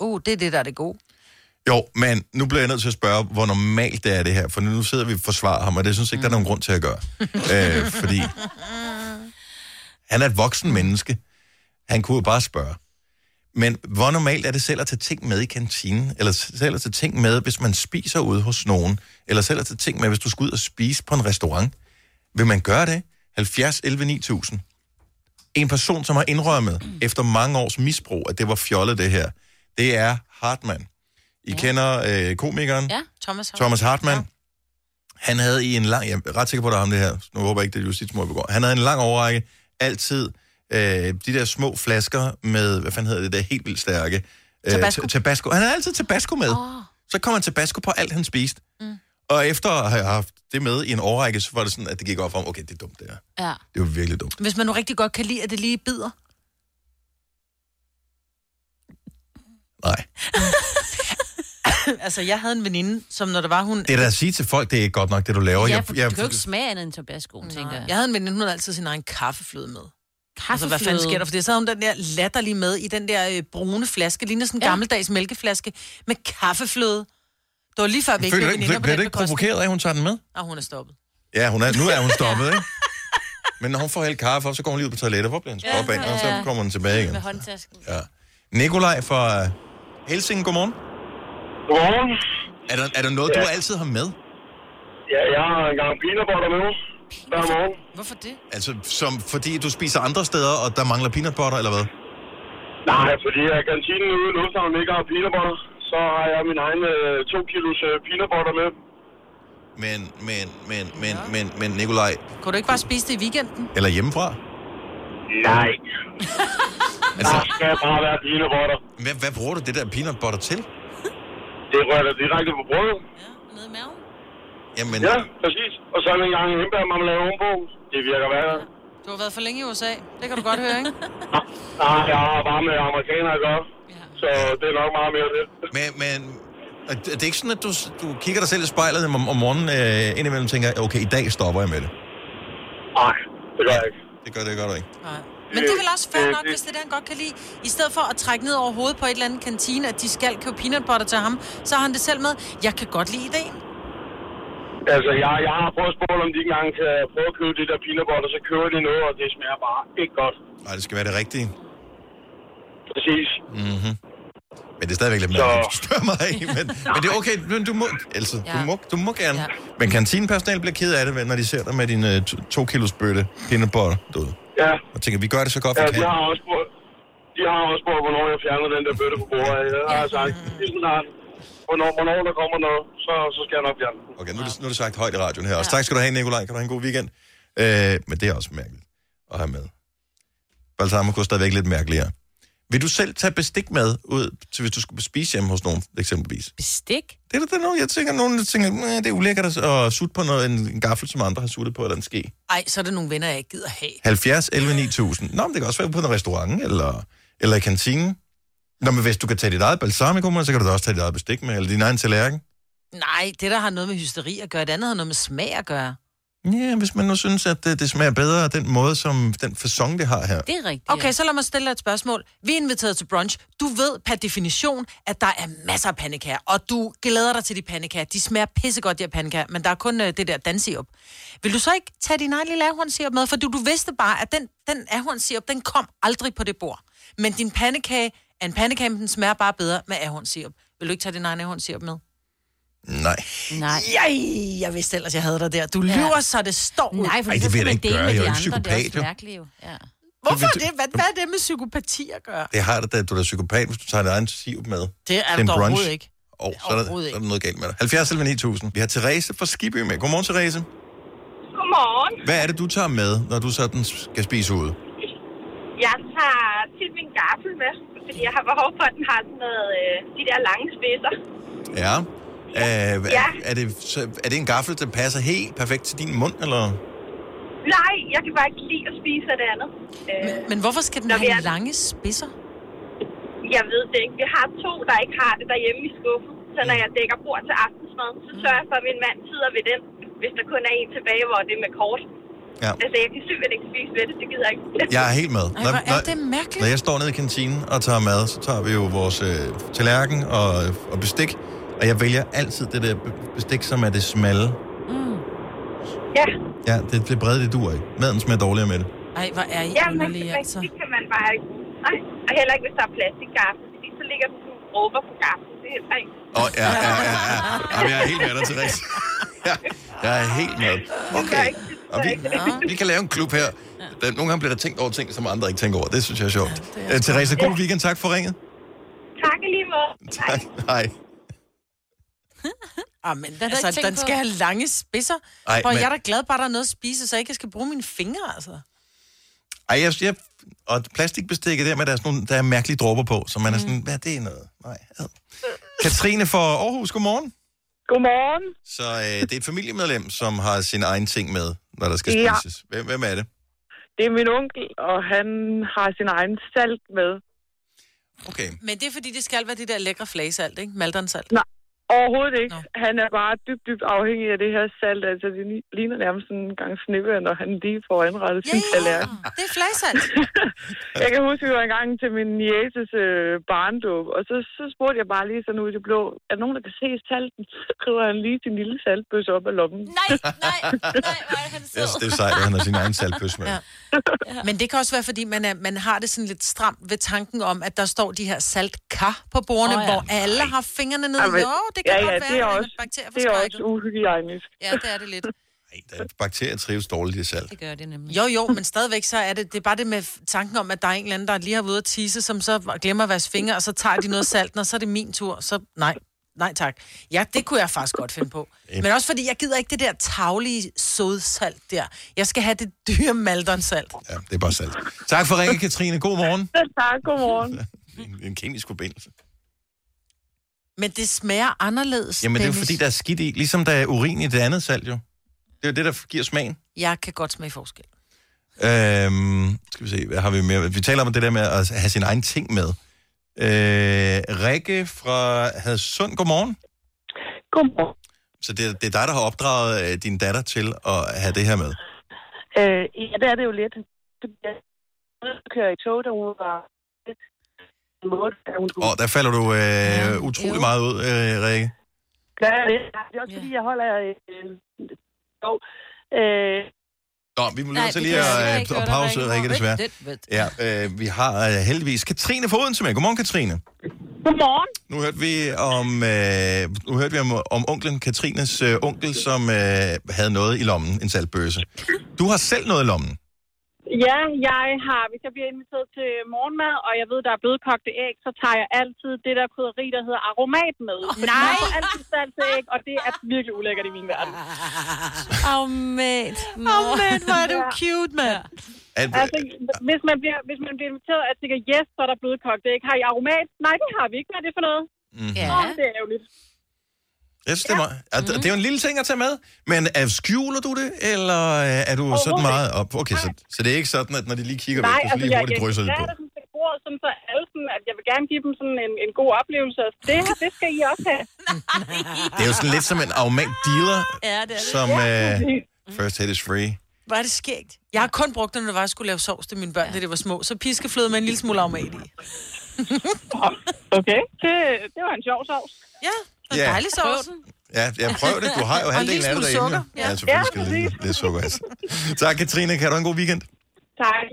[SPEAKER 3] oh, det er det, der er det gode.
[SPEAKER 1] Jo, men nu bliver jeg nødt til at spørge, hvor normalt det er det her, for nu sidder vi og forsvarer ham, og det synes jeg ikke, der er nogen grund til at gøre. øh, fordi han er et voksen menneske. Han kunne jo bare spørge. Men hvor normalt er det selv at tage ting med i kantinen, eller selv at tage ting med, hvis man spiser ude hos nogen, eller selv at tage ting med, hvis du skal ud og spise på en restaurant? Vil man gøre det? 70, 11, 9000. En person, som har indrømmet efter mange års misbrug, at det var fjollet det her, det er Hartmann. I ja. kender øh, komikeren?
[SPEAKER 3] Ja, Thomas Hartmann.
[SPEAKER 1] Thomas Hartmann. Ja. Han havde i en lang... Jeg er ret sikker på, at det er ham det her. Nu håber jeg ikke, det er justitsmord, vi går. Han havde en lang overrække altid øh, de der små flasker med... Hvad fanden hedder det der helt vildt stærke? Øh,
[SPEAKER 15] Tabasco.
[SPEAKER 1] ta- tabasco. Han havde altid tabasco med. Oh. Så kom han tabasco på alt, han spiste. Mm. Og efter at have haft det med i en overrække, så var det sådan, at det gik op for ham. Okay, det er dumt, det her.
[SPEAKER 3] Ja.
[SPEAKER 1] Det var virkelig dumt.
[SPEAKER 3] Hvis man nu rigtig godt kan lide, at det lige bider.
[SPEAKER 1] Nej.
[SPEAKER 3] altså, jeg havde en veninde, som når der var hun...
[SPEAKER 1] Det er da at sige til folk, det er ikke godt nok, det du laver.
[SPEAKER 3] Ja,
[SPEAKER 1] Jeg-
[SPEAKER 3] for
[SPEAKER 1] jeg-
[SPEAKER 3] du kan jo ikke
[SPEAKER 2] Smag andet end tabascoen, tænker jeg.
[SPEAKER 3] Jeg havde en veninde, hun havde altid sin egen kaffefløde med. Altså, hvad fanden
[SPEAKER 2] Kaffefløde.
[SPEAKER 3] sker der for det? Så havde hun den der latterlige med i den der øh, brune flaske, ligner sådan en ja. gammeldags mælkeflaske, med kaffefløde. Det var lige før, vi ikke
[SPEAKER 1] Føler
[SPEAKER 3] blev
[SPEAKER 1] du ikke,
[SPEAKER 3] veninder på
[SPEAKER 1] bliver
[SPEAKER 3] den
[SPEAKER 1] du ikke
[SPEAKER 3] bekostning.
[SPEAKER 1] provokeret af, at hun tager den med?
[SPEAKER 3] Og hun er stoppet.
[SPEAKER 1] Ja, hun er, nu er hun stoppet, ikke? Men når hun får hældt kaffe op, så går hun lige ud på toilettet. Hvor bliver hendes
[SPEAKER 2] Ja,
[SPEAKER 1] krop af? Og
[SPEAKER 2] ja,
[SPEAKER 1] så
[SPEAKER 2] ja.
[SPEAKER 1] kommer hun tilbage igen.
[SPEAKER 2] Med håndtasken.
[SPEAKER 1] Ja. Nikolaj fra Helsing, godmorgen.
[SPEAKER 16] Godmorgen.
[SPEAKER 1] Er der, er der noget, ja. du
[SPEAKER 16] Ja.
[SPEAKER 1] altid har med?
[SPEAKER 16] Ja, jeg har en gang pinabotter med hver morgen.
[SPEAKER 3] Hvorfor det?
[SPEAKER 1] Altså, som, fordi du spiser andre steder, og der mangler peanut butter, eller hvad?
[SPEAKER 16] Nej, fordi at kantinen ude i Lufthavn ikke har pinabotter, så har jeg min egen øh, to kilos øh, pinabotter med.
[SPEAKER 1] Men, men, men, men, ja. men, men, Nikolaj,
[SPEAKER 3] Kunne du ikke bare spise det i weekenden?
[SPEAKER 1] eller hjemmefra?
[SPEAKER 16] Nej.
[SPEAKER 1] altså, der
[SPEAKER 16] skal bare være peanut butter.
[SPEAKER 1] Hvad, hvad bruger du det der peanut butter til?
[SPEAKER 16] Det rører da direkte på brødet.
[SPEAKER 1] Jamen,
[SPEAKER 16] Ja, præcis. Og så en gang en hembærmarmelade ovenpå. Det virker værre.
[SPEAKER 3] Du har været for længe i USA. Det kan du godt høre, ikke?
[SPEAKER 16] Nej, jeg har bare med amerikanere at gøre. Så det er nok meget mere det.
[SPEAKER 1] Men, men er det er det ikke sådan, at du, du kigger dig selv i spejlet om, om morgenen øh, indimellem og tænker, okay, i dag stopper jeg med det?
[SPEAKER 16] Nej, det gør jeg ikke.
[SPEAKER 1] Det gør, det gør du ikke.
[SPEAKER 3] Men det er vel også fair nok, hvis det er det, han godt kan lide. I stedet for at trække ned over hovedet på et eller andet kantine, at de skal købe peanut butter til ham, så har han det selv med. Jeg kan godt lide ideen.
[SPEAKER 16] Altså, jeg, jeg har prøvet at spørge, om de ikke engang kan prøve at købe det der peanut butter, så køber de noget, og det smager bare ikke godt.
[SPEAKER 1] Nej, det skal være det rigtige.
[SPEAKER 16] Præcis.
[SPEAKER 1] Mm-hmm. Men det er stadigvæk lidt
[SPEAKER 16] Så-
[SPEAKER 1] mere, så... spørger mig. af, Men, men det er okay, men du må, altså, ja. du må, du må gerne. Ja. Men kantinepersonale bliver ked af det, når de ser dig med din øh, to, to kilos bøtte peanut butter derude.
[SPEAKER 16] Ja.
[SPEAKER 1] Og tænker, vi gør det så godt,
[SPEAKER 16] Ja,
[SPEAKER 1] vi kan.
[SPEAKER 16] de har også spurgt, de har også spurgt, hvornår jeg fjerner den der bøtte på bordet. Jeg har sagt, lige så snart, hvornår, hvornår der kommer noget, så, så skal jeg nok fjerne den.
[SPEAKER 1] Okay, nu er, det, nu er det sagt højt i radioen her. Og tak skal du have, Nikolaj. Kan du have en god weekend? Øh, men det er også mærkeligt at have med. Balsamico er stadigvæk lidt mærkeligere. Vil du selv tage bestik med ud, til hvis du skulle spise hjemme hos nogen, eksempelvis?
[SPEAKER 2] Bestik?
[SPEAKER 1] Det er der- der er nogen, jeg tænker, nogen der tænker, "Næh, det er ulækkert at- at sutte på noget, en, en gaffel, som andre har suttet på, eller en ske.
[SPEAKER 3] Ej, så er det nogle venner, jeg ikke gider have.
[SPEAKER 1] 70, 11, 9000. Nå, men det kan også være på en restaurant, eller, eller i kantinen. Nå, men hvis du kan tage dit eget balsamico med, så kan du da også tage dit eget bestik med, eller din egen tallerken.
[SPEAKER 3] Nej, det der har noget med hysteri at gøre, det andet har noget med smag at gøre.
[SPEAKER 1] Ja, hvis man nu synes, at det, det smager bedre af den måde, som den fasong, det har her.
[SPEAKER 2] Det er rigtigt.
[SPEAKER 3] Okay, så lad mig stille dig et spørgsmål. Vi er inviteret til brunch. Du ved per definition, at der er masser af pandekager, og du glæder dig til de pandekager. De smager pissegodt, de her pandekager, men der er kun øh, det der dansirup. Vil du så ikke tage din egen lille ahornsirup med? For du, du vidste bare, at den, den ahornsirup, den kom aldrig på det bord. Men din pandekage er en pandekage, men den smager bare bedre med ahornsirup. Vil du ikke tage din egen ahornsirup med?
[SPEAKER 1] Nej.
[SPEAKER 2] Nej.
[SPEAKER 3] Jeg, jeg vidste ellers, jeg havde dig der. Du lyver, så det står ud.
[SPEAKER 2] Nej, for
[SPEAKER 1] Ej,
[SPEAKER 2] så
[SPEAKER 1] det vil jeg da
[SPEAKER 2] skal man
[SPEAKER 1] ikke
[SPEAKER 2] dele
[SPEAKER 1] gøre.
[SPEAKER 2] med
[SPEAKER 1] Jeg er
[SPEAKER 2] de
[SPEAKER 1] jo ikke
[SPEAKER 2] andre. Det er
[SPEAKER 1] psykopat,
[SPEAKER 2] også
[SPEAKER 1] jo.
[SPEAKER 2] mærkeligt, jo. Ja.
[SPEAKER 3] Hvorfor det? Hvad, hvad er det med psykopati at gøre?
[SPEAKER 1] Det har det da, du er da psykopat, hvis du tager dig en sirup med.
[SPEAKER 3] Det
[SPEAKER 1] til
[SPEAKER 3] er du
[SPEAKER 1] en
[SPEAKER 3] da
[SPEAKER 1] brunch.
[SPEAKER 3] overhovedet ikke.
[SPEAKER 1] Og så er, der,
[SPEAKER 3] Overhovedet
[SPEAKER 1] så er der noget galt med dig. 70 11 9000. Vi har Therese fra Skibby med. Godmorgen, Therese.
[SPEAKER 15] Godmorgen.
[SPEAKER 1] Hvad er det, du tager med, når du sådan skal spise ude?
[SPEAKER 15] Jeg tager tit min gaffel med, fordi jeg har behov for, at den har sådan noget, øh, de der lange spidser.
[SPEAKER 1] Ja. Øh,
[SPEAKER 15] Ja.
[SPEAKER 1] er, er, det, så, er det en gaffel, der passer helt perfekt til din mund, eller?
[SPEAKER 15] Nej, jeg kan bare ikke lide at spise af det andet. Men,
[SPEAKER 17] Øh,
[SPEAKER 3] men hvorfor skal den have lange spidser?
[SPEAKER 15] Jeg ved det ikke. Vi har to, der ikke har det derhjemme i skuffen. Så
[SPEAKER 1] Mm.
[SPEAKER 15] når jeg dækker bord til aftensmad, så sørger jeg for, at min mand sidder ved den, hvis der kun er en tilbage, hvor det er med kort.
[SPEAKER 1] Ja.
[SPEAKER 15] Altså, jeg kan simpelthen ikke spise ved det. Det gider jeg ikke.
[SPEAKER 1] Jeg er helt med.
[SPEAKER 15] Ej, hvor er det mærkeligt.
[SPEAKER 1] Når jeg står nede i kantinen og tager mad, så tager vi jo vores øh, tallerken og, og bestik. Og jeg vælger altid det der be- bestik, som er det smalle.
[SPEAKER 15] Ja.
[SPEAKER 1] Ja, det, det brede, det dur ikke. Maden smager dårligere med det.
[SPEAKER 3] Ej, hvor er I
[SPEAKER 15] ja, man,
[SPEAKER 3] underlige,
[SPEAKER 15] man,
[SPEAKER 3] altså.
[SPEAKER 15] Det kan man bare ikke. Nej, og heller ikke, hvis der er plastikgaffel, fordi så ligger der sådan nogle dråber på gaffel. Det er heller ikke.
[SPEAKER 1] Åh, ja, ja, ja, ja, ja. Jamen, jeg er helt med dig, Therese. Ja, jeg er helt med. Okay. Og vi, vi kan lave en klub her. Der- Nogle gange bliver der tænkt over ting, som andre ikke tænker over. Det synes jeg er sjovt. Ja, Therese, god weekend. Tak for ringet.
[SPEAKER 15] Tak i lige måde.
[SPEAKER 1] Tak. Hej.
[SPEAKER 3] Ah, men
[SPEAKER 2] havde jeg
[SPEAKER 3] altså,
[SPEAKER 2] ikke tænkt
[SPEAKER 3] den
[SPEAKER 2] på.
[SPEAKER 3] skal have lange spidser.
[SPEAKER 1] Ej,
[SPEAKER 3] Ej, for
[SPEAKER 1] men-
[SPEAKER 3] men... jeg er da glad bare, der er noget at spise, så jeg ikke skal bruge mine fingre, altså.
[SPEAKER 1] Ej, jeg, jeg, og plastikbestikket der med, der er, sådan nogle, der er mærkelige dråber på, så
[SPEAKER 3] Mm.
[SPEAKER 1] man er sådan, hvad er det noget? Nej, ad. Katrine fra Aarhus, godmorgen.
[SPEAKER 17] Godmorgen.
[SPEAKER 1] Så øh, det er et familiemedlem, som har sin egen ting med, når der skal
[SPEAKER 17] Ja.
[SPEAKER 1] spises. Hvem, hvem er det?
[SPEAKER 17] Det er min onkel, og han har sin egen salt med.
[SPEAKER 1] Okay.
[SPEAKER 3] Men det er fordi, det skal være det der lækre flagesalt, ikke? Maldonsalt.
[SPEAKER 17] Nej, overhovedet ikke. No. Han er bare dybt, dybt afhængig af det her salt. Altså, det li- ligner nærmest sådan en gang snevær, når han lige får anrettet sin tallerken.
[SPEAKER 3] Det er flagesalt.
[SPEAKER 17] Jeg kan huske, vi var engang til min nieces øh, barndåb, og så, så spurgte jeg bare lige sådan ud i det blå, er der nogen, der kan se salten? Så skriver han lige sin lille saltbøs op af lommen.
[SPEAKER 2] Nej, nej, nej, han
[SPEAKER 1] Jeg synes, det er sejt, at han har sin egen saltbøs med.
[SPEAKER 3] Ja. Men det kan også være, fordi man, er, man har det sådan lidt stramt ved tanken om, at der står de her saltkar på bordene,
[SPEAKER 17] Åh,
[SPEAKER 3] oh,
[SPEAKER 17] ja.
[SPEAKER 3] ja. hvor alle har fingrene nede.
[SPEAKER 17] Jamen,
[SPEAKER 3] Jo, det kan
[SPEAKER 17] ja,
[SPEAKER 3] godt
[SPEAKER 17] ja,
[SPEAKER 3] være,
[SPEAKER 17] det er
[SPEAKER 3] men
[SPEAKER 17] også-
[SPEAKER 3] bakterier
[SPEAKER 17] det er også uhygiejnisk.
[SPEAKER 3] Ja, det er det lidt.
[SPEAKER 1] Bakterier trives dårligt i salt.
[SPEAKER 2] Det gør det nemlig.
[SPEAKER 3] Jo, jo, men stadigvæk så er det, det er bare det med tanken om, at der er en eller anden, der lige har været ude at tisse, som så glemmer at vaske fingre, og så tager de noget salt, og så er det min tur. Så nej, nej tak. Ja, det kunne jeg faktisk godt finde på. Men også fordi, jeg gider ikke det der taglige sødsalt der. Jeg skal have det dyre maldonsalt.
[SPEAKER 1] Ja, det er bare salt. Tak for ringen, Katrine. God morgen.
[SPEAKER 17] tak, godmorgen.
[SPEAKER 1] En, en kemisk forbindelse.
[SPEAKER 3] Men det smager anderledes,
[SPEAKER 1] Jamen, det er jo
[SPEAKER 3] Dennis.
[SPEAKER 1] fordi, der er skidt i. Ligesom der er urin i det andet salt, jo. Det er jo det, der giver smagen.
[SPEAKER 3] Jeg kan godt smage forskel.
[SPEAKER 1] Øhm, skal vi se, hvad har vi mere? Vi taler om det der med at have sin egen ting med. Øh, Rikke fra Hadsund, godmorgen.
[SPEAKER 17] Godmorgen.
[SPEAKER 1] Så det, er- det er dig, der har opdraget øh, din datter til at have det her med.
[SPEAKER 17] Øh, ja, det er det jo lidt. Jeg kører i tog, da hun var en måde, da hun skulle
[SPEAKER 1] Og der falder du øh, utrolig meget ud, øh, Rikke.
[SPEAKER 17] gøre det. Det er også fordi, jeg holder... Øh, dog. Øh,
[SPEAKER 1] Nå, vi må
[SPEAKER 17] Nej,
[SPEAKER 1] nødt til
[SPEAKER 17] vi
[SPEAKER 1] lige
[SPEAKER 17] kan
[SPEAKER 1] at,
[SPEAKER 17] desværre
[SPEAKER 1] øh, at
[SPEAKER 17] ikke høre dig,
[SPEAKER 1] pause,
[SPEAKER 17] Rikke.
[SPEAKER 1] Rikke, desværre.
[SPEAKER 17] Vent, vent,
[SPEAKER 1] Ja, øh, vi har øh, heldigvis Katrine fra Odense med. Godmorgen, Katrine.
[SPEAKER 17] Godmorgen.
[SPEAKER 1] Nu hørte vi om, øh, nu hørte vi om, om onklen, Katrines øh, onkel, som øh, havde noget i lommen, en saltbøse. Du har selv noget i lommen.
[SPEAKER 18] Ja, jeg har, hvis jeg bliver inviteret til morgenmad, og jeg ved, der er blødkogte æg, så tager jeg altid det der krydderi, der hedder aromat med. Oh, nej! Man får altid salt til æg, og det er virkelig ulækkert i min verden.
[SPEAKER 1] Ah.
[SPEAKER 2] Åh, mate.
[SPEAKER 3] Åh, mate, hvor er du cute, mand.
[SPEAKER 18] Altså, hvis man bliver, hvis man bliver inviteret, at tænker, yes, så er der blødkogte æg. Har I aromat? Nej, det har vi ikke. Hvad er det for noget?
[SPEAKER 1] Mhm.
[SPEAKER 18] Åh, det er ærgerligt.
[SPEAKER 1] Jeg synes, det, er meget, at, det er jo en lille ting at tage med, men er, skjuler du det, eller øh, er du sådan
[SPEAKER 18] Overhovedet
[SPEAKER 1] meget op? Okay, så, så det er ikke sådan, at når de lige kigger
[SPEAKER 18] Nej,
[SPEAKER 1] væk, så
[SPEAKER 18] altså,
[SPEAKER 1] lige
[SPEAKER 18] jeg,
[SPEAKER 1] hurtigt
[SPEAKER 18] jeg,
[SPEAKER 1] drysser det
[SPEAKER 18] jeg,
[SPEAKER 1] på.
[SPEAKER 18] jeg, sådan til bordet, sådan så alle sådan, at jeg vil gerne give dem sådan en, en god oplevelse. Og Det her, det skal I også have.
[SPEAKER 1] Det er jo sådan lidt som en afmængt dealer,
[SPEAKER 18] Ja, det er det.
[SPEAKER 1] som,
[SPEAKER 18] Ja,
[SPEAKER 1] øh,
[SPEAKER 18] præcis. Mhm.
[SPEAKER 1] First hit is free.
[SPEAKER 3] Hvor er det skægt. Jeg har kun brugt det, når det var, jeg skulle lave sovs til mine børn, ja. da det var små. Så piskefløde med en lille smule aromat i.
[SPEAKER 19] Okay, det, det var en sjov sovs.
[SPEAKER 3] Ja,
[SPEAKER 1] en Ja. dejlig sovs. Ja, jeg prøver det. Du har jo
[SPEAKER 19] Og en
[SPEAKER 1] halvdelen
[SPEAKER 19] lille
[SPEAKER 1] af det
[SPEAKER 19] smule
[SPEAKER 1] derinde.
[SPEAKER 19] sukker.
[SPEAKER 1] Ja,
[SPEAKER 19] Ja.
[SPEAKER 1] ja
[SPEAKER 19] Ja,
[SPEAKER 1] selvfølgelig skal ja, lidt, lidt sukker. Altså. Tak, Katrine. Kan du have en god weekend?
[SPEAKER 19] Tak.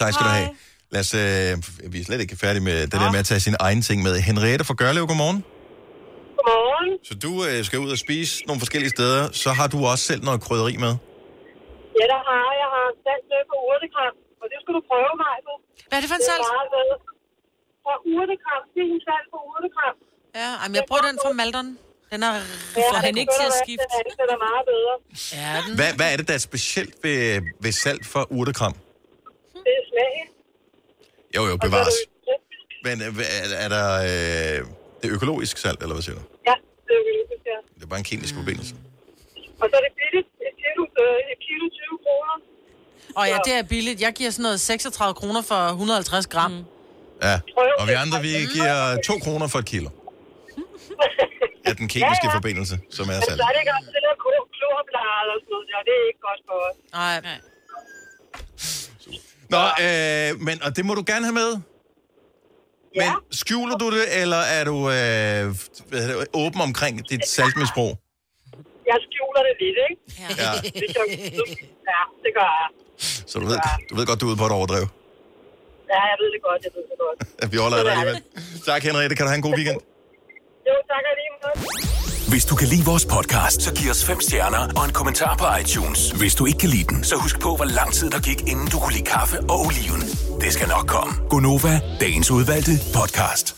[SPEAKER 1] Tak skal du have. Lad os, øh, vi er slet ikke færdige med det der med at tage sine egne ting med. Henriette fra Gørlev, godmorgen.
[SPEAKER 6] Godmorgen.
[SPEAKER 1] Så du øh, skal ud og spise nogle forskellige steder, så har du også selv noget krydderi med.
[SPEAKER 6] Ja, der har jeg. Jeg har salt med på urtekram, og det skulle du prøve, mig på.
[SPEAKER 3] Hvad er det for en salt?
[SPEAKER 6] Fra urtekram. Det er en salt på urtekram.
[SPEAKER 3] Ja, ej, men jeg bruger den fra Maldon. Den er får den ikke til at skifte.
[SPEAKER 6] Den er, den er meget bedre.
[SPEAKER 3] Ja, den.
[SPEAKER 1] Hvad, hvad er det, der er specielt ved, ved salt for urtekram?
[SPEAKER 6] Det er smagen.
[SPEAKER 1] Jo, jo, bevares. Men øh, hva- er, er der øh, det er økologisk salt, eller hvad siger du?
[SPEAKER 6] Ja, det er jo det, ja.
[SPEAKER 1] Det er bare en kemisk
[SPEAKER 6] Mm.
[SPEAKER 1] forbindelse.
[SPEAKER 6] Og så er det billigt. Et kilo, øh, et kilo 20 kroner.
[SPEAKER 3] Og ja, det er billigt. Jeg giver sådan noget 36 kroner for 150 gram. Mm.
[SPEAKER 1] Ja, og vi andre, vi
[SPEAKER 6] Mm.
[SPEAKER 1] giver 2 kroner for et kilo. Af den kemiske
[SPEAKER 6] Ja, ja.
[SPEAKER 1] forbindelse, som er
[SPEAKER 6] Men
[SPEAKER 1] salt.
[SPEAKER 6] så er det ikke også til at koge klorblad eller sådan noget. Ja, det er ikke godt for os.
[SPEAKER 3] Nej.
[SPEAKER 1] Nå, øh, men, og det må du gerne have med. Men skjuler du det, eller er du øh, hvad hedder det, åben omkring dit saltmisbrug?
[SPEAKER 6] Jeg skjuler det lidt, ikke?
[SPEAKER 1] Ja.
[SPEAKER 6] Det gør, ja, det gør jeg.
[SPEAKER 1] Så du ved, du ved godt, du er ude på et overdrev.
[SPEAKER 6] Ja, jeg ved det godt, jeg ved det godt.
[SPEAKER 1] Vi holder dig alligevel. Tak, Henriette. Kan du have en god weekend?
[SPEAKER 6] Jo, tak alligevel.
[SPEAKER 5] Hvis du kan lide vores podcast, så giv os fem stjerner og en kommentar på iTunes. Hvis du ikke kan lide den, så husk på, hvor lang tid der gik, inden du kunne lide kaffe og oliven. Det skal nok komme.
[SPEAKER 20] Gonova, dagens udvalgte podcast.